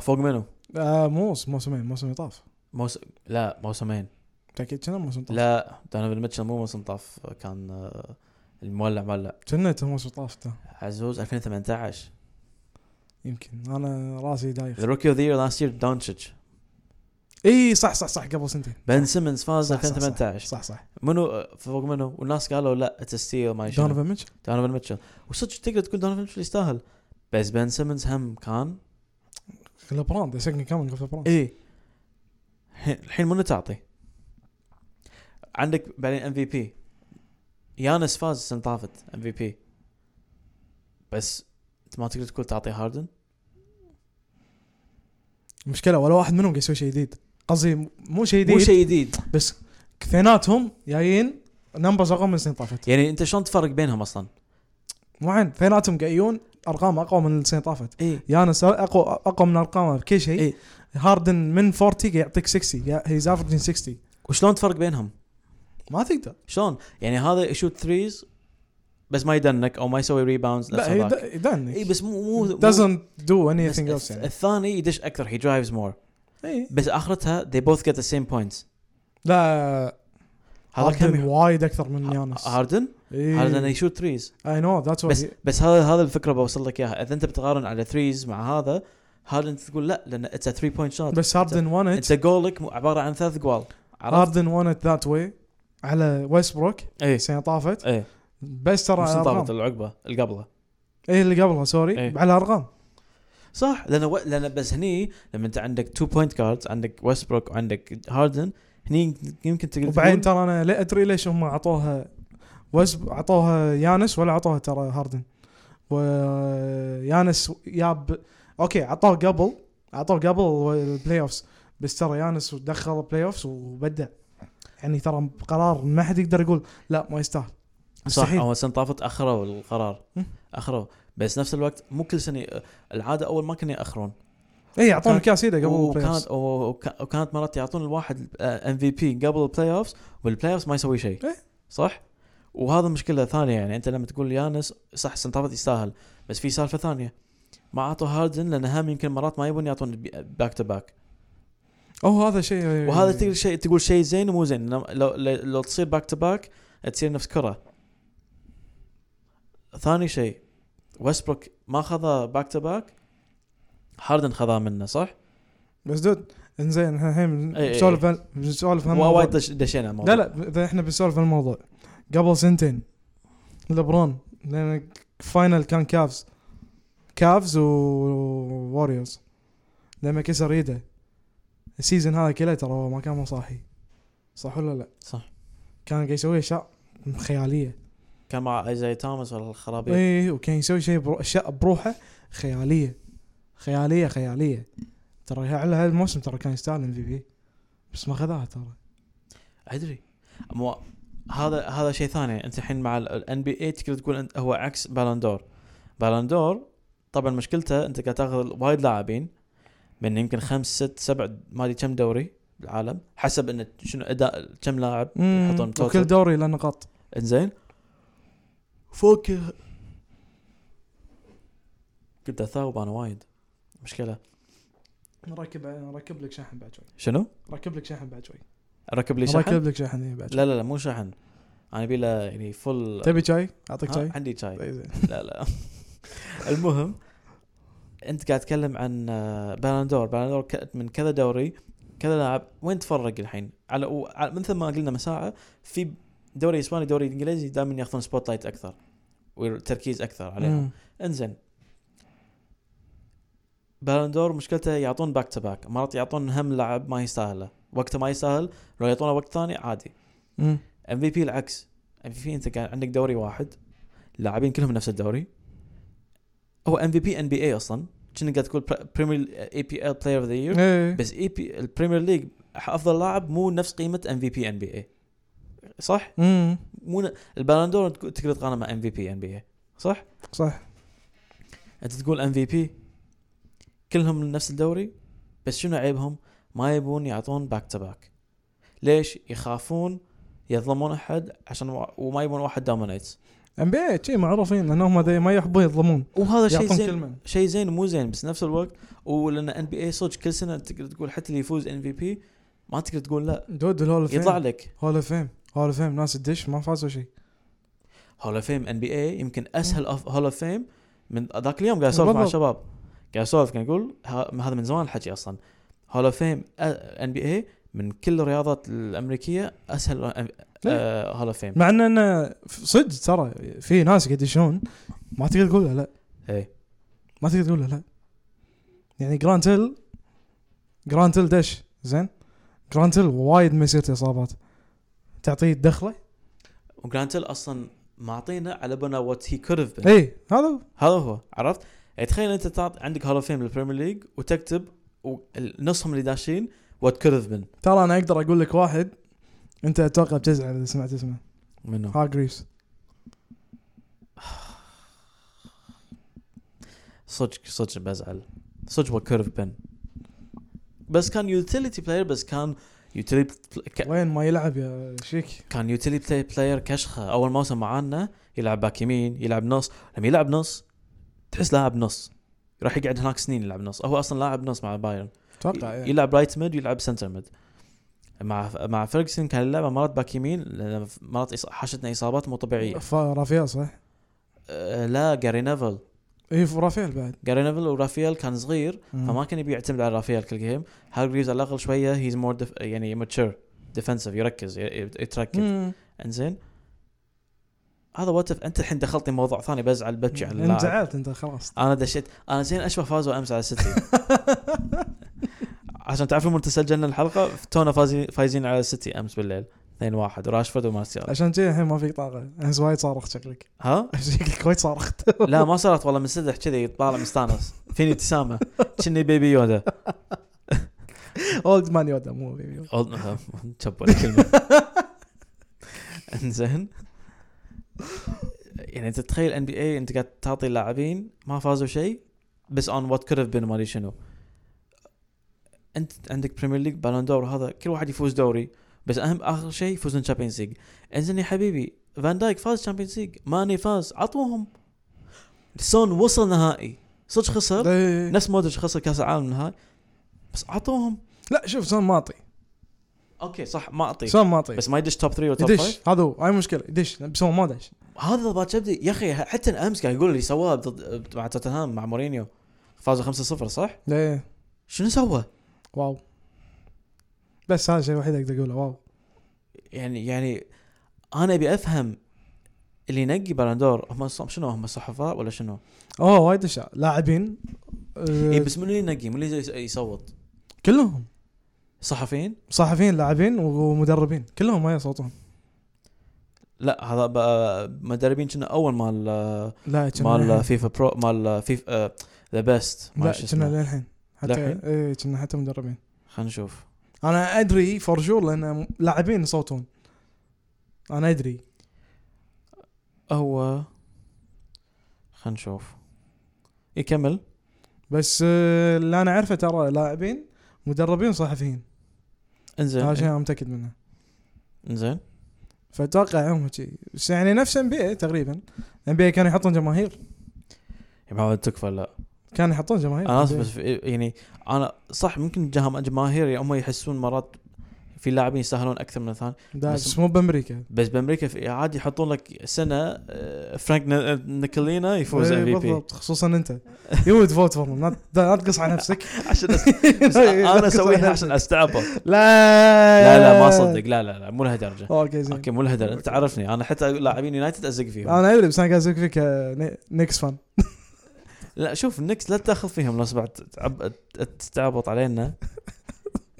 A: فوق منو؟
B: آه مو موسمين موسم طاف
A: موسم لا موسمين
B: تاكيد كنا موسم طاف
A: لا دونيفن ميتشل مو موسم طاف كان آه، المولع مولع
B: كنا موسم طاف ده.
A: عزوز 2018
B: يمكن انا راسي دايخ
A: ذا روكي اوف ذا يير لاست يير دونتشيتش
B: اي صح صح صح قبل سنتين
A: بن سيمنز فاز
B: صح، صح،
A: 2018
B: صح صح
A: منو آه، فوق منو والناس قالوا لا اتس ستيل ما شنو.
B: دونوفان ميتشل
A: دونوفن ميتشل وصدق تقدر تقول دونوفن ميتشل يستاهل بس بن سيمنز هم كان
B: لبران ذا سكند كامينج اوف لبران
A: اي الحين منو تعطي؟ عندك بعدين ام في بي يانس فاز السنه طافت ام في بي بس انت ما تقدر تقول تعطي هاردن
B: المشكله ولا واحد منهم قاعد يسوي شيء جديد قصدي مو شيء
A: مو
B: جديد
A: شيء جديد
B: بس اثنيناتهم جايين نمبرز اقوى من سنين طافت
A: يعني انت شلون تفرق بينهم اصلا؟
B: مو عين اثنيناتهم قايون ارقام اقوى من السنين طافت
A: اي
B: يانس اقوى اقوى من ارقامه بكل شيء
A: إيه.
B: هاردن من 40 قاعد يعطيك 60 هيز افرجين 60
A: وشلون تفرق بينهم؟
B: ما تقدر
A: شلون؟ يعني هذا يشوت ثريز بس ما يدنك او ما يسوي ريباوندز
B: لا هي
A: اي
B: يدنك
A: إيه، بس مو مو مو-
B: doesn't do
A: بس
B: anything else يعني
A: الثاني يدش اكثر هي درايفز مور
B: إي.
A: بس اخرتها they both get the same points
B: لا
A: هذا
B: هاردن
A: كم
B: وايد اكثر من يانس إيه.
A: هاردن هاردن
B: اي
A: يشوت ثريز
B: نو ذاتس
A: بس
B: واي
A: بس هذا هذا الفكره بوصل لك اياها اذا انت بتقارن على ثريز مع هذا هاردن أنت تقول لا لان اتس 3 بوينت شوت
B: بس هاردن وانت
A: انت جولك مو- عباره عن ثلاث جوال عرفت؟
B: هاردن وانت ذات واي على ويستبروك
A: اي
B: السنه طافت
A: اي
B: بس ترى على
A: بس طابت
B: الارقام
A: العقبه إيه. اللي قبلها
B: اي اللي قبلها سوري
A: إيه.
B: على ارقام
A: صح لان و... لان بس هني لما انت عندك 2 بوينت جاردز عندك ويستبروك وعندك هاردن هني يمكن تقدر
B: وبعدين
A: تقول-
B: ترى انا لا ادري ليش هم اعطوها وسب اعطوها يانس ولا اعطوها ترى هاردن ويانس ياب اوكي اعطوه قبل اعطوه قبل البلاي اوفز بس ترى يانس دخل البلاي اوفز وبدع يعني ترى قرار ما حد يقدر يقول لا ما يستاهل
A: صح
B: مستحيل
A: هو السنه طافت اخروا القرار
B: مم.
A: اخروا بس نفس الوقت مو كل سنه العاده اول ما كانوا ياخرون
B: اي اعطونا
A: كانت-
B: كاس ايده قبل البلاي
A: وكانت
B: اوفز
A: وك- وكانت مرات يعطون الواحد آه، ام في بي قبل البلاي اوفز والبلاي اوفز ما يسوي شيء
B: إيه.
A: صح؟ وهذا مشكله ثانيه يعني انت لما تقول يانس صح السنه طافت يستاهل بس في سالفه ثانيه ما اعطوا هاردن لان هم يمكن مرات ما يبون يعطون باك تو باك
B: اوه هذا شيء
A: وهذا تقول شيء تقول شيء زين ومو زين لو لو, لو تصير باك تو باك تصير نفس كره ثاني شيء ويستبروك ما خذا باك تو باك هاردن خذاه منه صح؟
B: بس دود انزين احنا الحين
A: إي إي إي.
B: بنسولف عن- بنسولف عن
A: إيه، وايد
B: الموضوع.
A: دش- دشينا الموضوع
B: لا لا اذا احنا بنسولف عن الموضوع قبل سنتين لبرون لان فاينل كان كافز كافز ووريوز لما كسر ايده السيزون هذا كله ترى هو ما كان مصاحي صح ولا لا؟
A: صح
B: كان قاعد يسوي اشياء خياليه
A: كان مع ايزاي توماس ولا الخرابيط
B: اي إيه، وكان يسوي شيء برو... اشياء بروحه خياليه خياليه خياليه ترى على هالموسم ترى كان يستاهل ام في بي بس ما خذاها ترى
A: ادري مو هذا هذا شيء ثاني انت الحين مع الان بي اي تقدر تقول أنت هو عكس بالندور بالندور طبعا مشكلته انت قاعد تاخذ وايد لاعبين من يمكن خمس ست سبع ما ادري كم دوري بالعالم حسب انه شنو اداء كم لاعب يحطون
B: وكل
A: توتل
B: دوري له نقاط
A: انزين فوق كنت اثاوب انا وايد مشكله
B: نركب نركب لك شاحن بعد شوي
A: شنو؟
B: ركب لك شاحن بعد شوي
A: ركب لي شحن؟
B: ركب لك شاحن إيه بعد شوي
A: لا لا لا مو شحن انا ابي له يعني فل
B: تبي شاي؟ اعطيك
A: ها،
B: شاي؟
A: عندي شاي
B: طيب زين.
A: لا لا المهم انت قاعد تتكلم عن آه، بالندور بالندور ك- من كذا دوري كذا لاعب وين تفرق الحين على و- على- مثل ما قلنا من ساعه في دوري اسباني دوري انجليزي دائما ياخذون سبوت لايت اكثر والتركيز اكثر عليهم
B: مم.
A: انزين بالندور مشكلته يعطون باك تو باك مرات يعطون هم لاعب ما يستاهله وقته ما يستاهل لو يعطونه وقت ثاني عادي
B: مم.
A: ام في بي العكس ام في بي انت كان عندك دوري واحد اللاعبين كلهم نفس الدوري هو ام في بي ان بي اي اصلا كنا قاعد تقول بريمير اي بي ال بلاير اوف ذا يير
B: إيه.
A: بس اي بي البريمير ليج افضل لاعب مو نفس قيمه ام في بي ان بي اي صح؟
B: مم.
A: مو ن- البالندور تقول- تقدر تقارنه مع ام في بي ان بي اي صح؟
B: صح
A: انت تقول ام في بي كلهم من نفس الدوري بس شنو عيبهم؟ ما يبون يعطون باك تو باك ليش؟ يخافون يظلمون احد عشان وا- وما يبون واحد دومينيتس
B: ام بي اي شي معروفين لانهم هذي ما يحبون يظلمون
A: وهذا شيء
B: يعطون
A: زين
B: كلمه
A: شيء زين ومو زين بس نفس الوقت ولان ان بي اي صدق كل سنه تقدر تقول حتى اللي يفوز ان في بي ما تقدر تقول لا
B: دود الهول اوف
A: يطلع
B: فيم
A: لك
B: هول اوف فيم هول اوف فيم ناس الدش ما فازوا شيء
A: هول اوف فيم ان بي اي يمكن اسهل هول اوف فيم من ذاك اليوم قاعد اسولف مع
B: بالضبط.
A: الشباب قاعد اسولف كان يقول ه- هذا من زمان الحكي اصلا هول اوف فيم ان بي اي من كل الرياضات الامريكيه اسهل هول اوف فيم
B: مع ان انا صدق ترى في ناس قاعد يشون ما تقدر تقول له لا
A: اي
B: ما تقدر تقول له لا يعني جرانت هيل جرانت هيل دش زين جرانت هيل وايد مسيرته اصابات تعطيه دخله
A: وجرانتل اصلا معطينا على بنا وات هي كود هاف
B: اي إيه، هذا هو.
A: هذا هو عرفت؟ يعني تخيل انت تعط عندك هول اوف فيم بالبريمير ليج وتكتب و- نصهم اللي داشين وات كود هاف بن
B: ترى انا اقدر اقول لك واحد انت اتوقع بتزعل اذا سمعت اسمه
A: منو؟
B: هارجريفز
A: صدق صدق بزعل صدق هو كيرف بن بس كان يوتيليتي بلاير بس كان يوتيليتي
B: وين ما يلعب يا شيك
A: كان يوتيليتي بلاير كشخه اول موسم معانا يلعب باك يمين يلعب نص لما يلعب نص تحس لاعب نص راح يقعد هناك سنين يلعب نص هو اصلا لاعب نص مع بايرن
B: اتوقع يعني.
A: يلعب رايت ميد ويلعب سنتر ميد مع مع فيرجسون كان يلعب مرات باك يمين لأن مرات إص- حاشتنا اصابات مو طبيعيه
B: ف- رافيال صح؟
A: أه، لا جاري نيفل
B: اي رافيال بعد
A: جاري نيفل ورافيال كان صغير فما كان يبي يعتمد على رافيال كل جيم هارجريفز على الاقل شويه هيز مور دف... يعني ماتشور ديفنسيف يركز ي- ي- يتركز
B: مم.
A: انزين هذا وات إف- انت الحين دخلتني موضوع ثاني بزعل ببكي على
B: انت
A: اللاعب
B: زعلت انت خلاص
A: انا دشيت انا زين اشبه فازوا امس على السيتي عشان تعرفون متى سجلنا الحلقه تونا فازي... فايزين على السيتي امس بالليل 2-1 راشفورد ومارسيال
B: عشان كذا الحين ما فيك طاقه امس وايد صارخت شكلك
A: ها؟
B: شكلك وايد صارخت
A: لا ما صارت والله منسدح كذي طالع مستانس فيني ابتسامه كني بيبي يودا
B: اولد مان يودا مو بيبي
A: أول- تشب ولا كلمة انزين يعني انت تتخيل ان بي اي انت قاعد تعطي لاعبين ما فازوا شيء بس اون وات كود بين ما ادري شنو انت عندك بريمير ليج بالون دور هذا كل واحد يفوز دوري بس اهم اخر شيء يفوزون تشامبيونز ليج انزين يا حبيبي فان دايك فاز تشامبيونز ليج ماني فاز عطوهم سون وصل نهائي صدق خسر
B: إيه.
A: نفس مودريتش خسر كاس العالم نهائي بس عطوهم
B: لا شوف سون معطي
A: اوكي صح ما اعطيه
B: سون معطي
A: طيب. بس ما يدش توب 3 ولا توب 5
B: إيه. يدش هذا هو هاي مشكله يدش بس هو ما دش
A: هذا بات شبدي يا اخي حتى امس قاعد يقول اللي سواه ضد مع توتنهام مع مورينيو فازوا 5-0 صح؟
B: إيه.
A: شنو سوى؟
B: واو بس هذا الشيء الوحيد اقدر اقوله واو
A: يعني يعني انا ابي افهم اللي ينقي بلندور هم ص- شنو هم صحفاء ولا شنو؟
B: اوه وايد اشياء لاعبين آه،
A: اي بس من اللي ينقي؟ من اللي يس- يصوت؟
B: كلهم
A: صحفيين؟
B: صحفيين لاعبين ومدربين كلهم ما يصوتون
A: لا هذا بقى مدربين كنا اول مال آه،
B: لا كنا
A: مال
B: للحين.
A: فيفا برو مال آه، فيفا ذا بيست
B: لا كنا للحين حتى
A: للحين؟
B: اي كنا حتى مدربين
A: خلينا نشوف
B: انا ادري فور شور لان لاعبين يصوتون انا ادري
A: هو خلينا نشوف يكمل
B: بس آه، اللي انا اعرفه ترى لاعبين مدربين صحفيين هذا شيء
A: انزين
B: انا متاكد منه
A: انزين
B: فاتوقع هم شي بس يعني نفس ام بي تقريبا ام بي كانوا يحطون جماهير
A: يا محمد تكفى لا
B: كانوا يحطون جماهير
A: انا اسف
B: NBA.
A: بس في- يعني انا صح ممكن جهم- جماهير يعني هم يحسون مرات في لاعبين يستاهلون اكثر من الثاني
B: لا،
A: بس-
B: بس مو بامريكا
A: بس بامريكا في عادي يحطون لك سنه آه، فرانك ن- نيكولينا يفوز
B: إيه،
A: ام في بي
B: بالضبط خصوصا انت يو تفوت فور لا لا تقص على نفسك
A: عشان أس-
B: إيه،
A: بس
B: لا
A: انا
B: تقص
A: اسويها
B: على
A: عشان
B: نفسك.
A: استعبط
B: لا
A: لا لا ما
B: إيه.
A: اصدق لا لا لا مو لهالدرجه
B: اوكي زين
A: اوكي مو لهالدرجه انت عارفني انا حتى لاعبين يونايتد ازق فيهم
B: انا ادري بس انا قاعد اسوق فيك آه، ني- نيكس فان
A: لا شوف النكس لا تاخذ فيهم لو بعد تعب- تستعبط علينا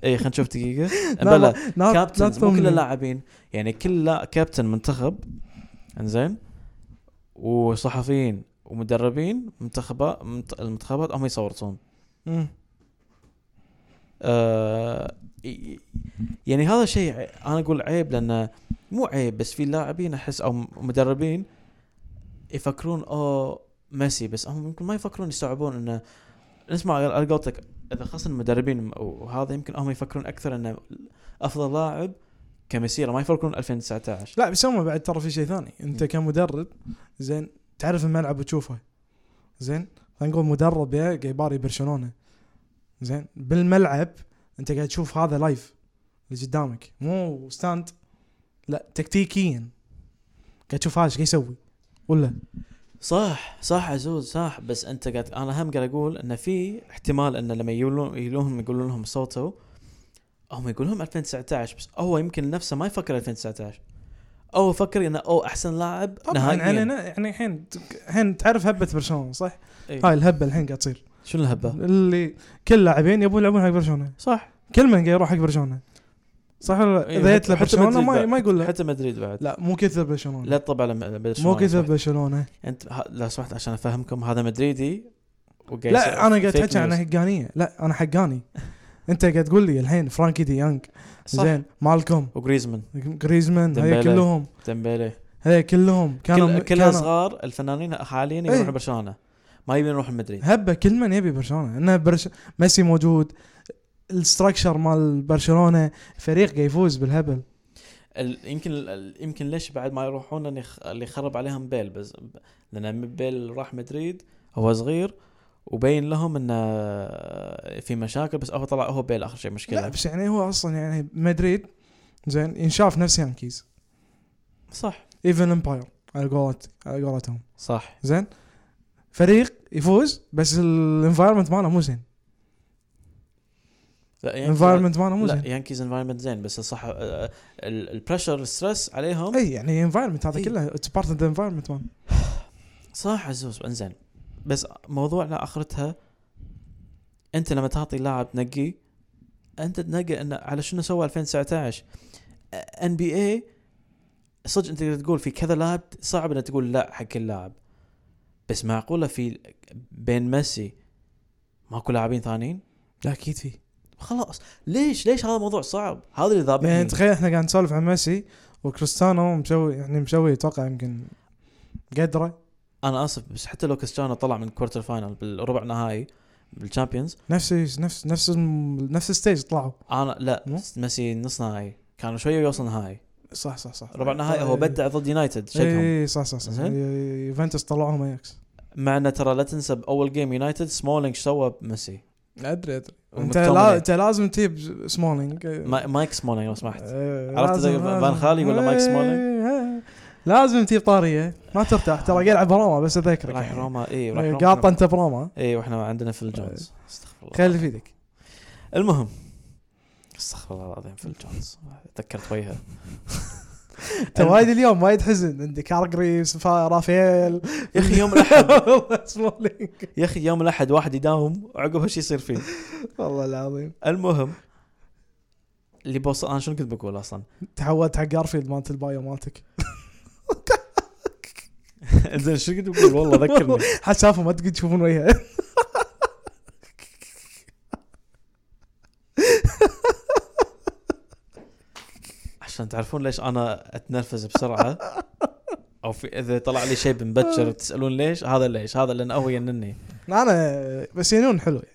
A: اي خلينا نشوف دقيقه
B: لا،
A: بلا
B: لا- لا
A: كابتنز مو
B: تطمني.
A: كل اللاعبين يعني كل لا- كابتن منتخب انزين وصحفيين ومدربين منتخبات منت- المنتخبات هم يصورون
B: مم.
A: آه ي- يعني هذا شيء عي- انا اقول عيب لانه مو عيب بس في لاعبين احس او م- مدربين يفكرون او ميسي بس هم يمكن ما يفكرون يستوعبون انه نسمع على قولتك اذا خاصه المدربين وهذا يمكن هم يفكرون اكثر انه افضل لاعب كمسيره ما يفكرون 2019
B: لا بس هم بعد ترى في شيء ثاني انت
A: مم.
B: كمدرب زين تعرف الملعب وتشوفه زين خلينا نقول مدرب يا جايباري برشلونه زين بالملعب انت قاعد تشوف هذا لايف اللي قدامك مو ستاند لا تكتيكيا قاعد تشوف هذا ايش قاعد يسوي ولا
A: صح صح عزوز صح بس انت قاعد انا هم قاعد اقول انه في احتمال انه لما يقولون يقولون يقولون لهم صوتوا هم يقول لهم 2019 بس هو يمكن نفسه ما يفكر 2019 او يفكر انه او احسن لاعب
B: طبعا
A: نهائيا
B: يعني أنا- يعني الحين الحين تعرف هبه برشلونه صح؟
A: إيه.
B: هاي الهبه الحين قاعد تصير
A: شنو الهبه؟
B: اللي كل لاعبين يبون يلعبون حق برشلونه
A: صح
B: كل من قاعد يروح حق برشلونه صح ولا لا؟
A: إيه،
B: اذا
A: حتى-
B: جت له
A: حتى
B: برشلونه
A: مدريد
B: ما,
A: بعد.
B: ما يقول له
A: حتى مدريد بعد
B: لا مو كذب برشلونه
A: لا تطب على م- برشلونه
B: مو كذب
A: صح.
B: برشلونه
A: انت ه- لو سمحت عشان افهمكم هذا مدريدي وقاعد يسوي
B: لا انا قاعد
A: fake
B: احكي عن
A: news.
B: حقانيه لا انا حقاني انت قاعد تقول لي الحين فرانكي دي يونغ
A: صح.
B: زين مالكوم
A: وجريزمان
B: جريزمان هي
A: ديمبلي.
B: كلهم
A: ديمبلي
B: هي كلهم كانوا
A: كل كلها
B: كانوا-
A: صغار الفنانين حاليا
B: إيه.
A: يروحون برشلونه ما يبين يروحون مدريد
B: هبه كل من يبي برشلونه انه برش... ميسي موجود الاستراكشر مال برشلونه فريق قاعد يفوز بالهبل
A: ال- يمكن ال- يمكن ليش بعد ما يروحون لأن يخ- اللي خرب عليهم بيل بس لان بيل راح مدريد هو صغير وبين لهم انه في مشاكل بس هو طلع هو بيل اخر شيء
B: لا
A: مشكله
B: بس يعني هو اصلا يعني مدريد زين ينشاف نفس يانكيز
A: صح
B: ايفن امباير على قولت على قولتهم
A: صح
B: زين فريق يفوز بس الانفايرمنت ماله مو زين
A: لا يانكيز
B: الانفايرمنت ماله مو
A: يعني لا
B: زين
A: يانكيز انفايرمنت زين بس صح آه، البريشر الستريس عليهم
B: اي يعني انفايرمنت هذا
A: إي.
B: كله اتس بارت اوف ذا انفايرمنت مان
A: صح عزوز انزين بس موضوعنا اخرتها انت لما تعطي لاعب تنقي انت تنقي انه على شنو سوى 2019 ان بي اي صدق انت تقدر تقول في كذا لاعب صعب انك تقول لا حق كل لاعب بس معقوله في بين ميسي ماكو لاعبين ثانيين
B: لا اكيد في
A: خلاص ليش ليش هذا موضوع صعب هذا اللي
B: يعني
A: ذابحني
B: تخيل احنا قاعد نسولف عن ميسي وكريستيانو مسوي يعني مسوي اتوقع يمكن قدره
A: انا اسف بس حتى لو كريستيانو طلع من كوارتر فاينل بالربع نهائي بالشامبيونز
B: نفس نفس نفس الم- نفس الستيج طلعوا
A: انا لا
B: مو؟
A: ميسي نص نهائي كانوا شويه يوصل نهائي
B: صح صح صح
A: ربع نهائي هو
B: طيب.
A: بدع ضد
B: إيه.
A: يونايتد شقهم
B: اي صح صح صح
A: زين.
B: يوفنتوس طلعوهم اياكس
A: مع انه ترى لا تنسى باول جيم يونايتد سمولينج شو سوى بميسي
B: ادري ادري انت
A: ومكتومني.
B: لا انت لازم تجيب سمولينج
A: ما- مايك سمولينج لو سمحت
B: إيه،
A: عرفت
B: لازم-
A: زي فان
B: لازم.
A: خالي ولا مايك سمولينج؟
B: إيه، لازم تجيب طاريه ما ترتاح ترى قاعد يلعب بروما بس اذكرك
A: راح
B: يعني.
A: روما اي راح
B: إيه،
A: روما إيه،
B: قاطه انت بروما
A: اي واحنا عندنا في الجونز استغفر الله
B: خلي في ايدك
A: المهم استغفر الله العظيم فيل جونز تذكرت وجهه
B: انت وايد اليوم وايد حزن عندك ارجريس فا- رافائيل
A: يا اخي يوم الاحد
B: سمولينج.
A: يا اخي يوم الاحد واحد يداوم وعقبها شو يصير فيه
B: والله العظيم
A: المهم اللي بوصل انا شنو كنت بقول اصلا
B: تحولت حق جارفيلد مالت البايو مالتك
A: زين شنو كنت بقول والله ذكرني
B: حسافه ما تقدر تشوفون وجهه
A: عشان تعرفون ليش انا اتنرفز بسرعه او في اذا طلع لي شيء بمبكر تسالون ليش هذا ليش هذا لان هو ينني
B: انا بس ينون حلو يعني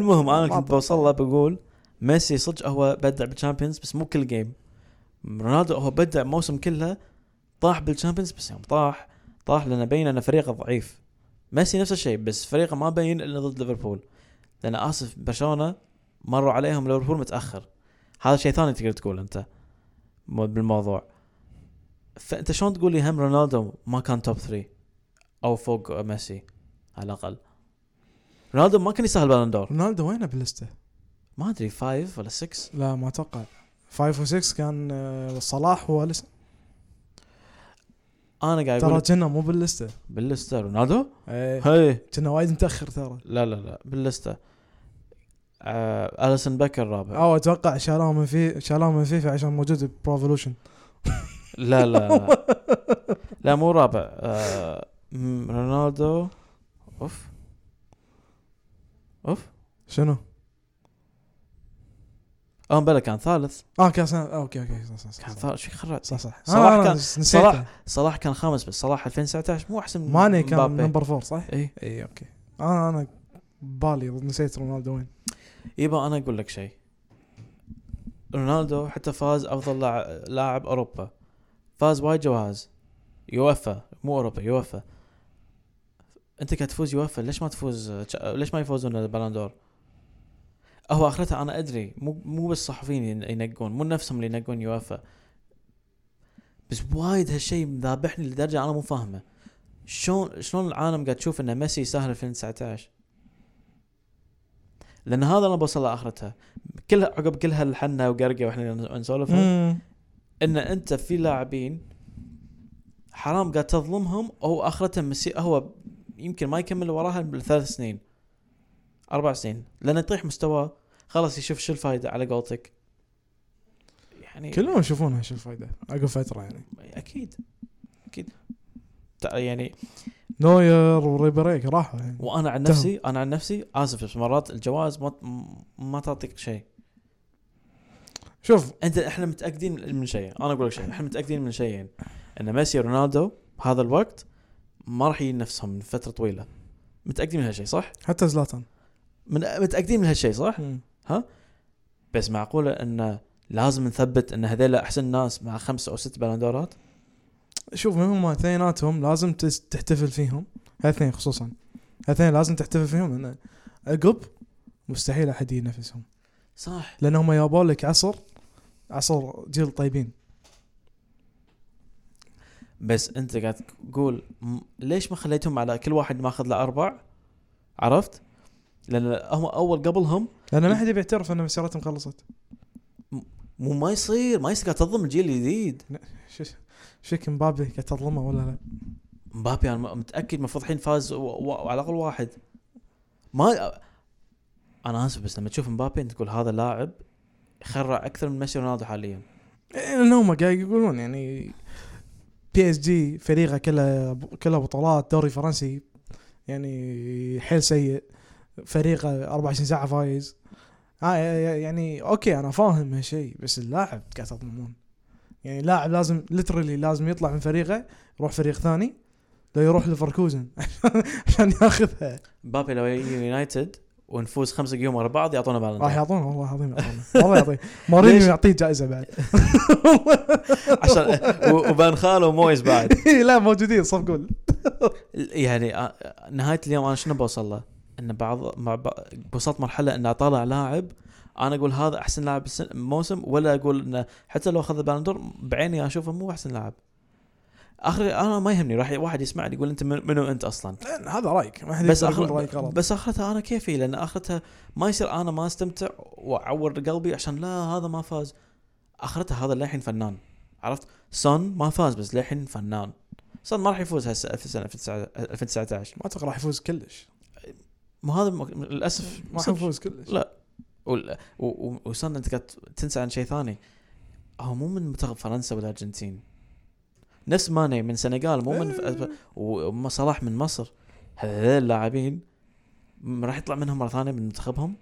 A: المهم انا
B: ما
A: كنت بوصل له بقول ميسي صدق هو بدع بالشامبيونز بس مو كل جيم رونالدو هو بدع موسم كله طاح بالشامبيونز بس يوم طاح طاح لانه بين انه فريقه ضعيف ميسي نفس الشيء بس فريقه ما بين الا ضد ليفربول لان اسف برشلونه مروا عليهم ليفربول متاخر هذا شيء ثاني تقدر تقول انت مو- بالموضوع فانت شلون تقول لي هم رونالدو ما كان توب 3 او فوق ميسي على الاقل رونالدو ما كان يسهل بالندور
B: رونالدو وينه باللسته؟
A: ما ادري 5 ولا 6
B: لا ما اتوقع 5 و6 كان آه، صلاح هو لسه
A: انا قاعد
B: ترى
A: اقول
B: كنا مو باللسته
A: باللسته رونالدو
B: ايه
A: هي
B: كنا وايد متاخر ترى
A: لا لا لا باللسته آه اليسون بكر الرابع
B: او اتوقع شالوه من في شالوه من فيفا عشان موجود بروفولوشن
A: لا لا لا, لا مو رابع آه م- رونالدو اوف اوف
B: شنو؟
A: اه بلا كان ثالث
B: اه كان سنة- آه، اوكي اوكي صح صح صح
A: كان
B: صح
A: ثالث شو خرج
B: صح آه، صح
A: صلاح
B: صلاح
A: كان-
B: كان صلاح
A: صلاح كان خامس بس صلاح 2019 مو احسن من
B: ماني كان إيه.
A: مبابي. إيه.
B: نمبر فور صح؟
A: اي
B: اي اوكي انا انا بالي نسيت رونالدو وين
A: يبا انا اقول لك شيء رونالدو حتى فاز افضل لاع- لاعب اوروبا فاز وايد جوائز يوفا مو اوروبا يوفا انت قاعد تفوز يوفا ليش ما تفوز ليش ما يفوزون البالندور هو اخرتها انا ادري مو مو بس الصحفيين ين- ينقون مو نفسهم اللي ينقون يوفا بس وايد هالشيء مذابحني لدرجه انا مو فاهمه شلون شلون العالم قاعد تشوف ان ميسي يسهل 2019 لان هذا انا بوصل لاخرتها كل عقب كل هالحنه وقرقه واحنا نسولف ان انت في لاعبين حرام قاعد تظلمهم او اخرته مسي هو يمكن ما يكمل وراها بالثلاث سنين اربع سنين لان يطيح مستواه خلاص يشوف شو الفائده على قولتك يعني
B: كلهم يشوفونها شو الفائده عقب فتره يعني
A: اكيد اكيد تع- يعني
B: نوير وريبريك راحوا يعني
A: وانا عن
B: تهم.
A: نفسي انا عن نفسي اسف بس مرات الجوائز ما ما تعطيك شيء
B: شوف
A: انت احنا متاكدين من شيء انا اقول لك شيء احنا متاكدين من شيئين ان ميسي ورونالدو بهذا الوقت ما راح يجي نفسهم من فتره طويله متاكدين من هالشيء صح؟
B: حتى زلاتان
A: من متاكدين من هالشيء صح؟
B: مم.
A: بس معقوله ان لازم نثبت ان هذول احسن ناس مع خمس او ست بلندورات
B: شوف هم اثنيناتهم لازم تس- تحتفل فيهم هالاثنين خصوصا هالاثنين لازم تحتفل فيهم لان عقب مستحيل احد ينافسهم
A: صح
B: لان هم جابوا لك عصر عصر جيل طيبين
A: بس انت قاعد تقول م- ليش ما خليتهم على كل واحد ماخذ له اربع عرفت؟ لان هم اول قبلهم
B: لان ما حد يبي يعترف ان مسيرتهم خلصت
A: مو ما يصير ما يصير قاعد تظلم الجيل الجديد
B: شو- شيك مبابي قاعد تظلمه ولا لا
A: مبابي انا م- متاكد المفروض الحين فاز و- و- وعلى الاقل واحد ما انا اسف بس لما تشوف مبابي انت تقول هذا لاعب خرع اكثر من ميسي رونالدو حاليا
B: إيه، لان هم قاعد يقولون يعني بي اس جي فريقه كله كله بطولات دوري فرنسي يعني حيل سيء فريقه 24 ساعه فايز آه يعني اوكي انا فاهم هالشيء بس اللاعب قاعد تظلمون يعني لاعب لازم لترلي لازم يطلع من فريقه يروح فريق ثاني لو يروح لفركوزن عشان ياخذها
A: مبابي لو يجي يونايتد ونفوز خمسة جيوم ورا بعض يعطونا
B: راح
A: بالون
B: يعطونه والله العظيم يعطونه والله يعطيه مورينيو
A: ليش؟
B: يعطيه جائزه بعد
A: عشان و- وبان خال ومويز بعد
B: لا موجودين صفقوا
A: يعني آ- نهايه اليوم انا شنو بوصل له؟ ان بعض مع ب- وصلت مرحله ان اطالع لاعب انا اقول هذا احسن لاعب السن- الموسم ولا اقول انه حتى لو اخذ بالندور بعيني اشوفه مو احسن لاعب اخر انا ما يهمني راح واحد يسمعني يقول انت من- منو انت اصلا
B: لأن هذا رايك ما حد
A: بس
B: يقدر يقول
A: اخر
B: رايك غلط
A: بس اخرتها انا كيفي لان اخرتها ما يصير انا ما استمتع واعور قلبي عشان لا هذا ما فاز اخرتها هذا للحين فنان عرفت سون ما فاز بس للحين فنان سون ما راح يفوز هسه في سنه 2019
B: ما اتوقع راح يفوز كلش
A: ما هذا م- للاسف
B: ما راح يفوز كلش
A: لا. وال- و- و- وسون انت قاعد تنسى عن شيء ثاني هو مو من منتخب فرنسا والارجنتين نفس ماني من سنغال مو من ف-
B: إيه.
A: وصلاح من مصر هذول اللاعبين م- راح يطلع منهم مره ثانيه من منتخبهم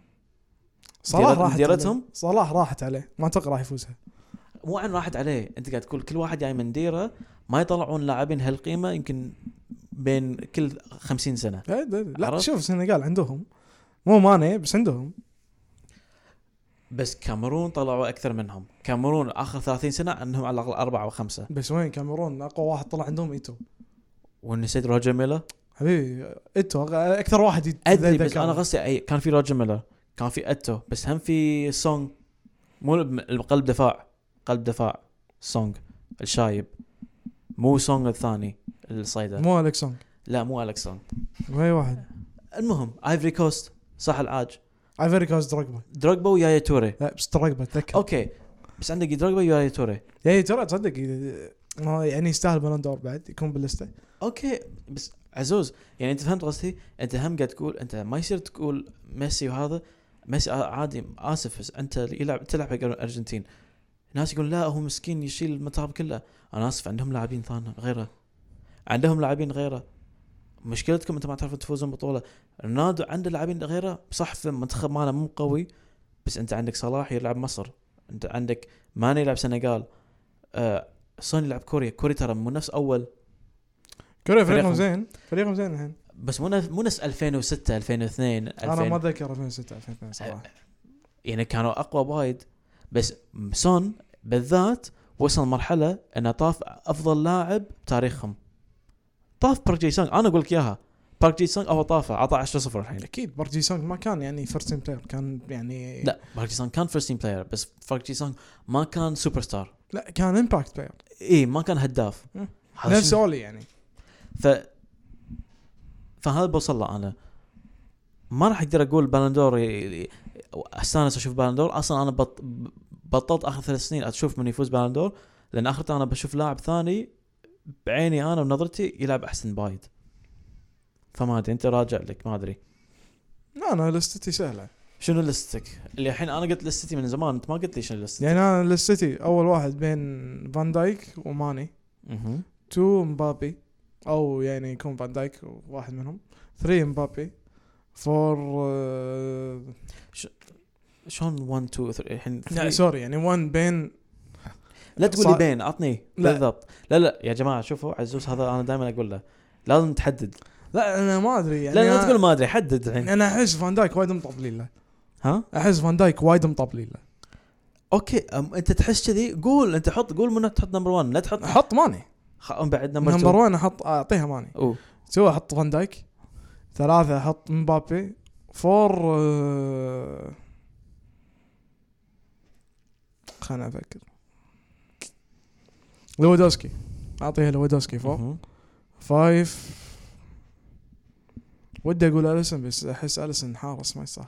B: صلاح
A: مديرت-
B: راحت
A: مديرتهم؟
B: عليه. صلاح راحت عليه ما اتوقع راح يفوزها
A: مو عن راحت عليه انت قاعد تقول كل واحد جاي من ديره ما يطلعون لاعبين هالقيمه يمكن بين كل خمسين سنه
B: إيه، إيه، إيه. لا
A: عرفت؟
B: شوف السنغال عندهم مو ماني بس عندهم
A: بس كاميرون طلعوا اكثر منهم كاميرون اخر 30 سنه عندهم على الاقل اربعه وخمسه
B: بس وين كاميرون اقوى واحد طلع عندهم ايتو
A: ونسيت روجر ميلر
B: حبيبي ايتو أغ- اكثر واحد يت-
A: ادري
B: ذكر.
A: بس انا قصدي اي كان في روجر ميلر كان في اتو بس هم في سونغ مو الم- القلب دفاع قلب دفاع سونغ الشايب مو سونغ الثاني الصيدة
B: مو الكسون
A: لا مو الكس سونغ
B: وهي واحد
A: المهم ايفري كوست صح العاج
B: ايفري كوست دراجبا
A: دروجبا ويايا توري
B: لا بس دراجبا تذكر
A: اوكي بس عندك دروجبا ويايا توري
B: يعني ترى تصدق ي- ما يعني يستاهل بالون دور بعد يكون باللسته
A: اوكي بس عزوز يعني انت فهمت قصدي انت هم قاعد تقول انت ما يصير تقول ميسي وهذا ميسي آ- عادي اسف بس انت اللي يلعب تلعب حق الارجنتين ناس يقول لا هو مسكين يشيل المنتخب كله انا اسف عندهم لاعبين ثاني غيره عندهم لاعبين غيره مشكلتكم انت ما تعرفون تفوزون بطوله رونالدو عنده لاعبين غيره صح في المنتخب ماله مو قوي بس انت عندك صلاح يلعب مصر انت عندك ماني يلعب سنغال آه سون يلعب كوريا كوريا ترى مو نفس اول
B: كوريا
A: فريقهم.
B: فريقهم زين فريقهم زين الحين
A: بس مو نف- مو نفس 2006 2002
B: انا ما
A: 2000
B: اتذكر 2006 2002 صراحه
A: يعني كانوا اقوى وايد بس سون بالذات وصل مرحله انه طاف افضل لاعب بتاريخهم طاف بارك جي سونغ انا اقول لك اياها بارك جي سونغ هو طافه عطى 10 0 الحين
B: اكيد بارك جي سونغ ما كان يعني فيرست تيم بلاير كان يعني
A: لا بارك جي سونغ كان فيرست تيم بلاير بس بارك جي سونغ ما كان سوبر ستار
B: لا كان امباكت بلاير
A: اي ما كان هداف
B: مم.
A: هذا
B: نفس
A: شنو-
B: اولي يعني
A: ف فهذا بوصل له انا ما راح اقدر اقول بالندور استانس اشوف بالندور اصلا انا بط... بطلت اخر ثلاث سنين اشوف من يفوز بالندور لان اخرته انا بشوف لاعب ثاني بعيني انا ونظرتي يلعب احسن بايد فما ادري انت راجع لك ما ادري
B: لا انا لستتي سهله
A: شنو لستك؟ اللي الحين انا قلت لستي من زمان انت ما قلت لي شنو لستك؟
B: يعني انا لستتي اول واحد بين فان دايك وماني
A: مهم.
B: تو مبابي او يعني يكون فان دايك واحد منهم 3 مبابي آه، 4
A: شلون 1 2 3 الحين
B: لا
A: three.
B: سوري يعني 1 بين
A: لا تقول لي
B: صا-
A: بين عطني
B: لا.
A: بالضبط لا لا يا جماعه شوفوا عزوز هذا انا دائما اقول له لازم تحدد
B: لا انا ما ادري يعني
A: لا لا
B: أنا- يعني
A: تقول ما ادري حدد الحين
B: انا احس فان دايك وايد مطبلين له
A: ها
B: احس فان دايك وايد مطبلين له
A: اوكي أم انت تحس كذي قول انت حط قول منو تحط نمبر 1 لا تحط
B: احط ماني
A: خ... بعد نمبر 2
B: نمبر 1 احط اعطيها ماني
A: 1
B: تو احط فان دايك ثلاثة احط مبابي فور آه، خلنا افكر لودوسكي اعطيها لودوسكي فور فايف ودي اقول اليسن بس احس اليسن حارس ما يستاهل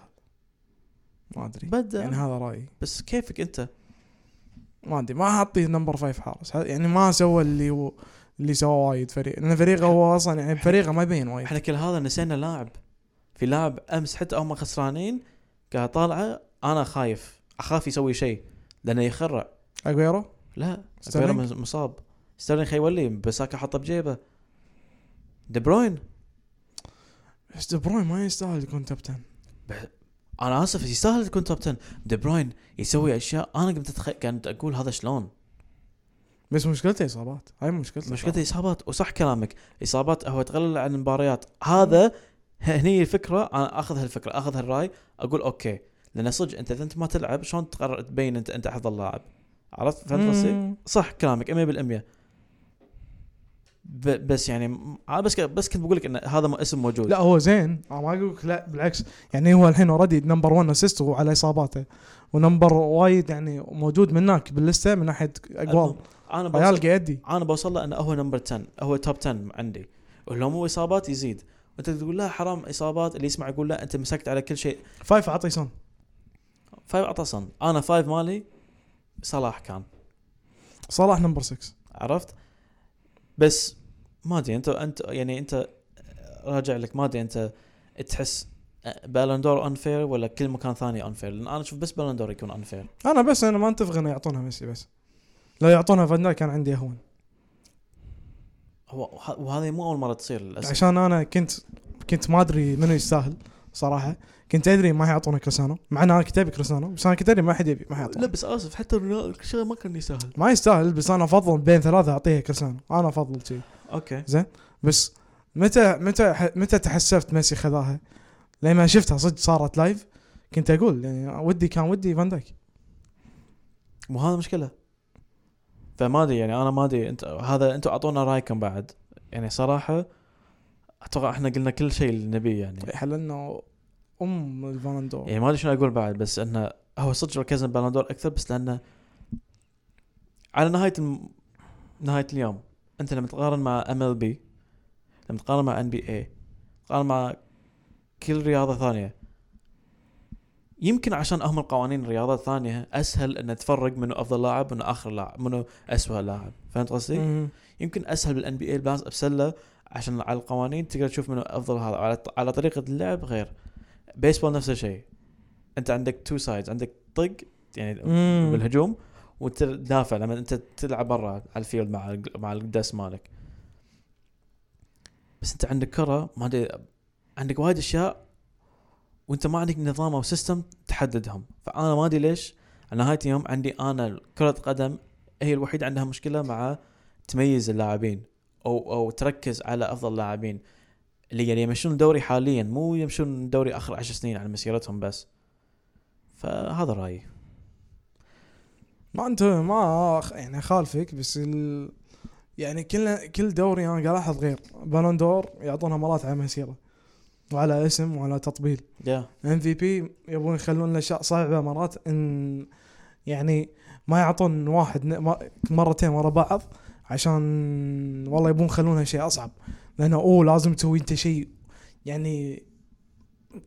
B: ما ادري
A: بدا
B: يعني هذا رايي
A: بس كيفك انت
B: ما ادري ما اعطيه نمبر فايف حارس ه- يعني ما سوى اللي هو اللي سواه وايد فريق لان فريقه هو اصلا يعني فريقه ما يبين وايد
A: احنا كل هذا نسينا لاعب في لاعب امس حتى هم خسرانين قاعد طالعه انا خايف اخاف يسوي شيء لانه يخرع
B: اجويرو
A: لا
B: ستيرلينج؟
A: ستيرلينج مصاب ستيرلينج خيولي بساكا حطه بجيبه دي بروين
B: بس دي بروين ما يستاهل يكون توب 10
A: انا اسف يستاهل تكون توب 10 دي بروين يسوي اشياء انا قمت أتخ... كنت اقول هذا شلون
B: بس مشكلته اصابات هاي مشكلته
A: مشكلته اصابات وصح كلامك اصابات هو تقلل عن المباريات هذا هني الفكره انا اخذ هالفكره اخذ هالراي اقول اوكي لان صدق انت اذا انت ما تلعب شلون تقرر تبين انت انت افضل لاعب عرفت فهمت قصدي؟
B: مم.
A: صح كلامك 100% ب- بس يعني م- انا بس ك- بس كنت بقول لك ان هذا م- اسم موجود
B: لا هو زين انا ما اقول لك لا بالعكس يعني هو الحين اوريدي نمبر 1 اسيست وعلى اصاباته ونمبر وايد يعني موجود من هناك باللسته من ناحيه اقوال
A: انا بوصل
B: عيال قاعد يدي
A: انا بوصل له انه هو نمبر 10 هو توب 10 عندي ولو هو اصابات يزيد انت تقول لا حرام اصابات اللي يسمع يقول لا انت مسكت على كل شيء
B: فايف اعطي سون
A: فايف عطسن انا فايف مالي صلاح كان
B: صلاح نمبر 6
A: عرفت بس ما ادري انت انت يعني انت راجع لك ما ادري انت تحس بالندور انفير ولا كل مكان ثاني انفير لان انا اشوف بس بالندور يكون انفير
B: انا بس انا ما اتفق انه يعطونها ميسي بس لو يعطونها فان دايك كان عندي اهون
A: هو وه- وهذه مو اول مره تصير للاسف
B: عشان انا كنت كنت ما ادري منو يستاهل صراحه كنت ادري ما حيعطونه كريستيانو مع ان انا كنت ابي كريستيانو بس انا كنت ادري ما حد يبي ما
A: لا
B: حيعطونه
A: بس اسف حتى رونالدو- شيء ما كان يسهل
B: ما يستاهل بس انا افضل بين ثلاثه اعطيها كريستيانو انا افضل شيء
A: اوكي
B: بس متى متى متى تحسفت ميسي خذاها؟ لما شفتها صدق صارت لايف كنت اقول يعني ودي كان ودي فان دايك
A: مو هذا مشكله فما ادري يعني انا ما ادري انت هذا انتم اعطونا رايكم بعد يعني صراحه اتوقع احنا قلنا كل شيء اللي نبيه يعني
B: حللنا ام البالندور
A: يعني ما ادري شنو اقول بعد بس انه هو صدق ركزنا بالندور اكثر بس لانه على نهايه الم... نهايه اليوم انت لما تقارن مع ام ال بي لما تقارن مع ان بي اي تقارن مع كل رياضه ثانيه يمكن عشان هم القوانين رياضات ثانيه اسهل ان تفرق منو افضل لاعب منو اخر لاعب منو اسوء لاعب فهمت قصدي؟
B: مم.
A: يمكن اسهل بالان بي اي الباس بسله عشان على القوانين تقدر تشوف منو افضل هذا على, على طريقه اللعب غير بيسبول نفس الشيء انت عندك تو سايدز عندك طق يعني
B: مم.
A: بالهجوم وتدافع لما انت تلعب برا على الفيلد مع ال- مع الدس مالك بس انت عندك كره ما ادري عندك وايد اشياء وانت ما عندك نظام او سيستم تحددهم فانا ما ادري ليش على نهايه اليوم عندي انا كره قدم هي الوحيده عندها مشكله مع تميز اللاعبين او او تركز على افضل لاعبين اللي يعني يمشون الدوري حاليا مو يمشون الدوري اخر عشر سنين على مسيرتهم بس فهذا رايي
B: ما انت ما أخ- يعني خالفك بس ال... يعني كل كل دوري انا قاعد الاحظ غير بالندور يعطونها مرات على مسيره وعلى اسم وعلى تطبيل
A: يا
B: ام في بي يبون يخلون الاشياء صعبه مرات ان يعني ما يعطون واحد ن- ما- مرتين ورا بعض عشان والله يبون يخلونها شيء اصعب لانه اوه لازم تسوي انت شيء يعني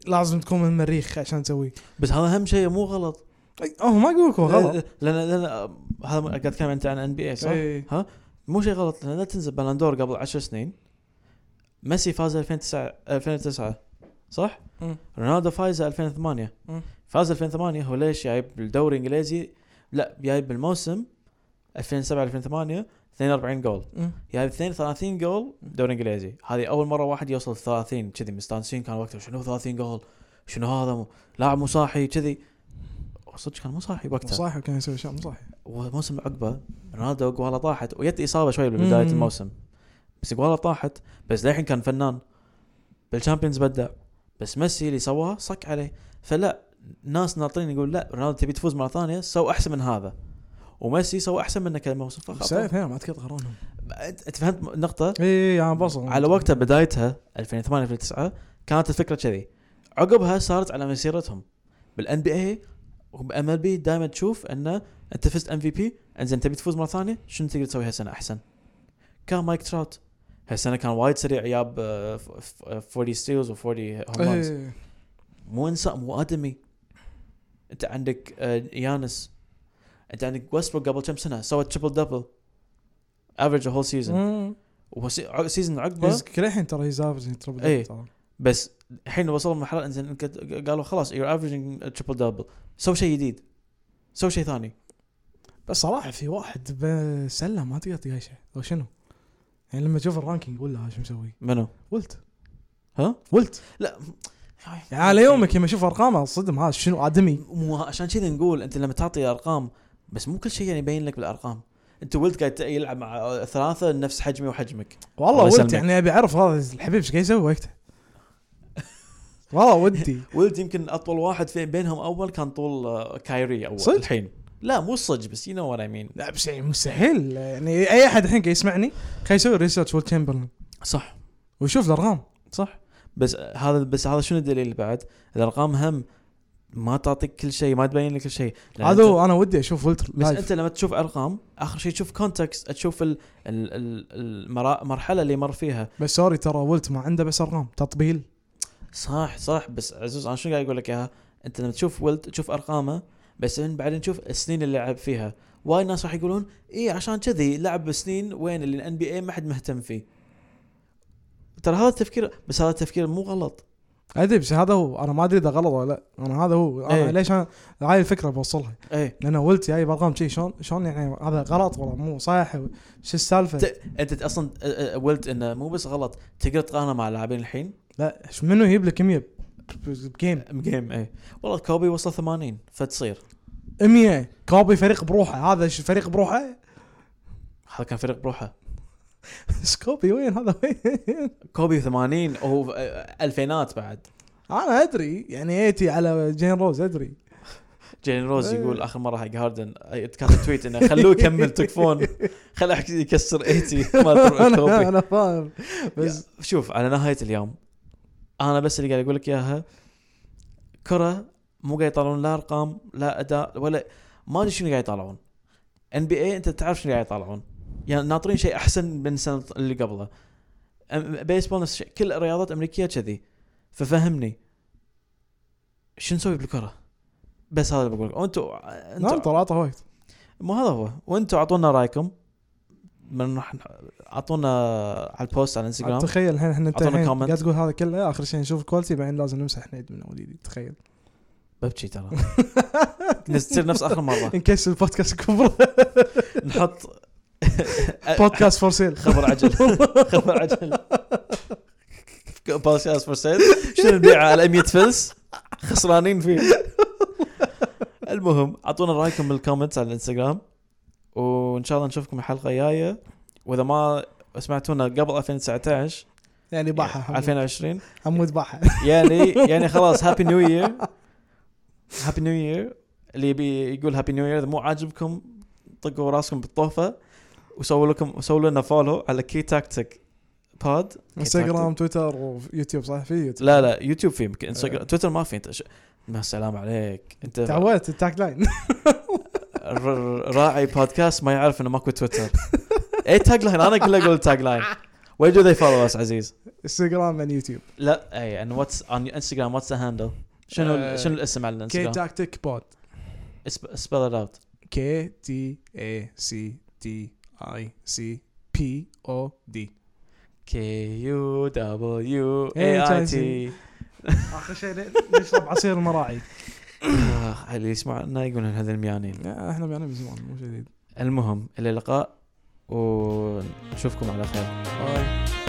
B: لازم تكون من المريخ عشان تسويه
A: بس هذا اهم شيء مو غلط إيه،
B: أي- اوه ما اقول لك هو غلط إيه.
A: لان لان هذا قاعد اتكلم انت عن ان بي اي صح؟
B: إي.
A: مو شيء غلط لان لا تنسى بالندور قبل 10 سنين ميسي فاز 2009 2009 صح؟
B: مم.
A: رونالدو فاز 2008
B: مم.
A: فاز 2008 هو ليش جايب بالدوري الانجليزي لا جايب بالموسم 2007 2008 42 جول
B: أمم.
A: جايب 32 يعني جول دوري انجليزي هذه اول مره واحد يوصل 30 كذي مستانسين كان وقتها شنو 30 جول شنو هذا مو- لاعب مو صاحي كذي صدق كان مو صاحي وقتها
B: صح كان يسوي اشياء مو صح
A: وموسم عقبه رونالدو قواله طاحت ويت اصابه شوي ببدايه
B: مم.
A: الموسم بس قواله طاحت بس للحين كان فنان بالشامبيونز بدع بس ميسي اللي سواه صك عليه فلا ناس ناطرين يقول لا رونالدو تبي تفوز مره ثانيه سو احسن من هذا وميسي سوى احسن منك الموسم
B: بس
A: فخلاص
B: اثنين ما تكثر غرونهم
A: انت فهمت النقطه
B: اي انا بصل
A: على وقتها بدايتها 2008 2009 كانت الفكره كذي عقبها صارت على مسيرتهم بالان بي اي وبام ال بي دائما تشوف انه انت فزت ام في بي انزين تبي تفوز مره ثانيه شنو تقدر تسوي هالسنه احسن؟ كان مايك تراوت هالسنه كان وايد سريع جاب آه، ف- ف- 40 ستيلز و40 هوم
B: إيه.
A: مو انسان مو ادمي انت عندك آه، يانس انت عندك ويستبروك قبل كم سنه سوى تريبل دبل افريج هول سيزون
B: أمم.
A: وسيزون عقبه
B: يز- كل الحين ترى يزافز تربل
A: إيه.
B: ترى
A: بس الحين وصلوا لمرحله انزين انك- قالوا خلاص يور افريجنج تريبل دبل سوي شيء جديد سوي شيء ثاني
B: بس صراحه في واحد بسله ما تقدر تقايشه لو شنو؟ يعني لما تشوف الرانكينج قول له شو مسوي؟
A: منو؟
B: ولت
A: ها؟
B: ولت
A: لا
B: يعني على يومك لما اشوف ارقامه صدم هذا شنو ادمي
A: مو عشان كذا نقول انت لما تعطي ارقام بس مو كل شيء يعني يبين لك بالارقام انت ولد قاعد يلعب مع ثلاثه نفس حجمي وحجمك
B: والله
A: الله
B: ولت
A: يسلمك.
B: يعني ابي اعرف هذا الحبيب ايش قاعد يسوي وقته والله ودي
A: ولد يمكن اطول واحد في بينهم اول كان طول آه، كايري اول
B: صدق؟
A: الحين لا مو صج بس يو نو وات اي مين
B: لا بس يعني مستحيل يعني اي احد الحين قاعد يسمعني خليه يسوي ريسيرش وورد تشامبرلين
A: صح
B: ويشوف الارقام
A: صح بس هذا بس هذا شنو الدليل بعد؟ الارقام هم ما تعطيك كل شيء ما تبين لك كل شيء لأن
B: هذا
A: أنت-
B: هو انا ودي اشوف فلتر
A: بس
B: لايف
A: انت لما تشوف ارقام اخر شيء تشوف كونتكست تشوف ال- ال- ال- المرا- المرحله اللي مر فيها
B: بس سوري ترى ولت ما عنده بس ارقام تطبيل
A: صح صح بس عزوز انا شنو قاعد اقول لك اياها؟ انت لما تشوف ولد تشوف ارقامه بس من بعدين تشوف السنين اللي لعب فيها وايد ناس راح يقولون اي عشان كذي لعب سنين وين اللي الان بي اي ما حد مهتم فيه ترى هذا التفكير بس هذا التفكير مو غلط
B: ادري بس هذا هو انا ما ادري اذا غلط ولا لا انا هذا هو انا
A: إيه.
B: ليش انا هاي الفكره بوصلها
A: ايه
B: لان ولت جايب ارقام شي شلون شلون يعني هذا غلط والله مو صح شو السالفه
A: ت- انت اصلا أ- أ- قلت انه مو بس غلط تقدر تقارنه مع اللاعبين الحين
B: لا ش- منو يجيب لك 100 بجيم
A: جيم اي إيه. والله كوبي وصل 80 فتصير
B: 100 كوبي فريق بروحه هذا ش- فريق بروحه
A: هذا كان فريق بروحه
B: سكوبي وين هذا وين
A: كوبي 80 وهو أ- أ- الفينات بعد
B: انا ادري يعني ايتي على جين روز ادري
A: جيلين روز
B: إيه.
A: يقول اخر مره حق هاردن أي- كاتب تويت انه خلوه يكمل تكفون خليه يحك- يكسر 80 مال
B: انا
A: كوبي
B: انا فاهم بس
A: بس شوف على نهايه اليوم انا بس اللي قاعد اقول لك اياها كره مو قاعد يطلعون لا ارقام لا اداء ولا ما ادري شنو قاعد يطلعون ان بي اي انت تعرف شنو قاعد يطلعون يعني ناطرين شيء احسن من السنه اللي قبله أم- بيسبول نفس الشيء كل الرياضات الامريكيه كذي ففهمني شو نسوي بالكره بس هذا اللي بقول لك وانتوا
B: نعم
A: انتوا
B: ترى عطى وقت
A: مو هذا هو وانتوا اعطونا رايكم من راح اعطونا على البوست على الانستغرام
B: تخيل الحين احنا انت
A: أعطونا
B: الحين
A: comment.
B: قاعد تقول هذا كله اخر شيء نشوف الكواليتي بعدين لازم نمسح حنيد من وليدي تخيل
A: ببجي ترى تصير نفس اخر مره
B: نكسر البودكاست كبره
A: نحط
B: بودكاست فور سيل
A: خبر عجل خبر عجل بودكاست فور سيل شنو نبيعه على 100 فلس خسرانين فيه المهم اعطونا رايكم بالكومنتس على الانستغرام وان شاء الله نشوفكم الحلقه الجايه واذا ما سمعتونا قبل 2019
B: يعني باحه
A: 2020
B: عمود باحه
A: يعني يعني خلاص هابي نيو يير هابي نيو يير اللي يبي يقول هابي نيو يير اذا مو عاجبكم طقوا راسكم بالطوفه وسووا لكم سووا لنا فولو على كي تاكتيك بود
B: انستغرام تويتر ويوتيوب صح في يوتيوب
A: لا لا يوتيوب في يمكن
B: آه.
A: انستغرام تويتر ما في انت ش... ما السلام عليك انت
B: تعودت التاك لاين
A: ر- راعي بودكاست ما يعرف انه ماكو تويتر اي تاج لاين انا كله اقول تاج لاين وين دو ذي فولو اس عزيز
B: انستغرام and يوتيوب
A: لا اي ان واتس ان انستغرام واتس ذا هاندل شنو ال- شنو الاسم على
B: كي
A: الانستغرام؟
B: تاكتيك بود
A: سبيل ات اوت
B: كي تي اي سي تي اي سي بي او دي
A: كي يو دبليو
B: إيه،
A: اي اي
B: جايزي.
A: تي
B: اخر شيء لي- نشرب عصير المراعي
A: آه، اللي يسمعنا يقولون هذا الميانين
B: لا، احنا بينا من زمان مو جديد
A: المهم الى اللقاء ونشوفكم على خير
B: باي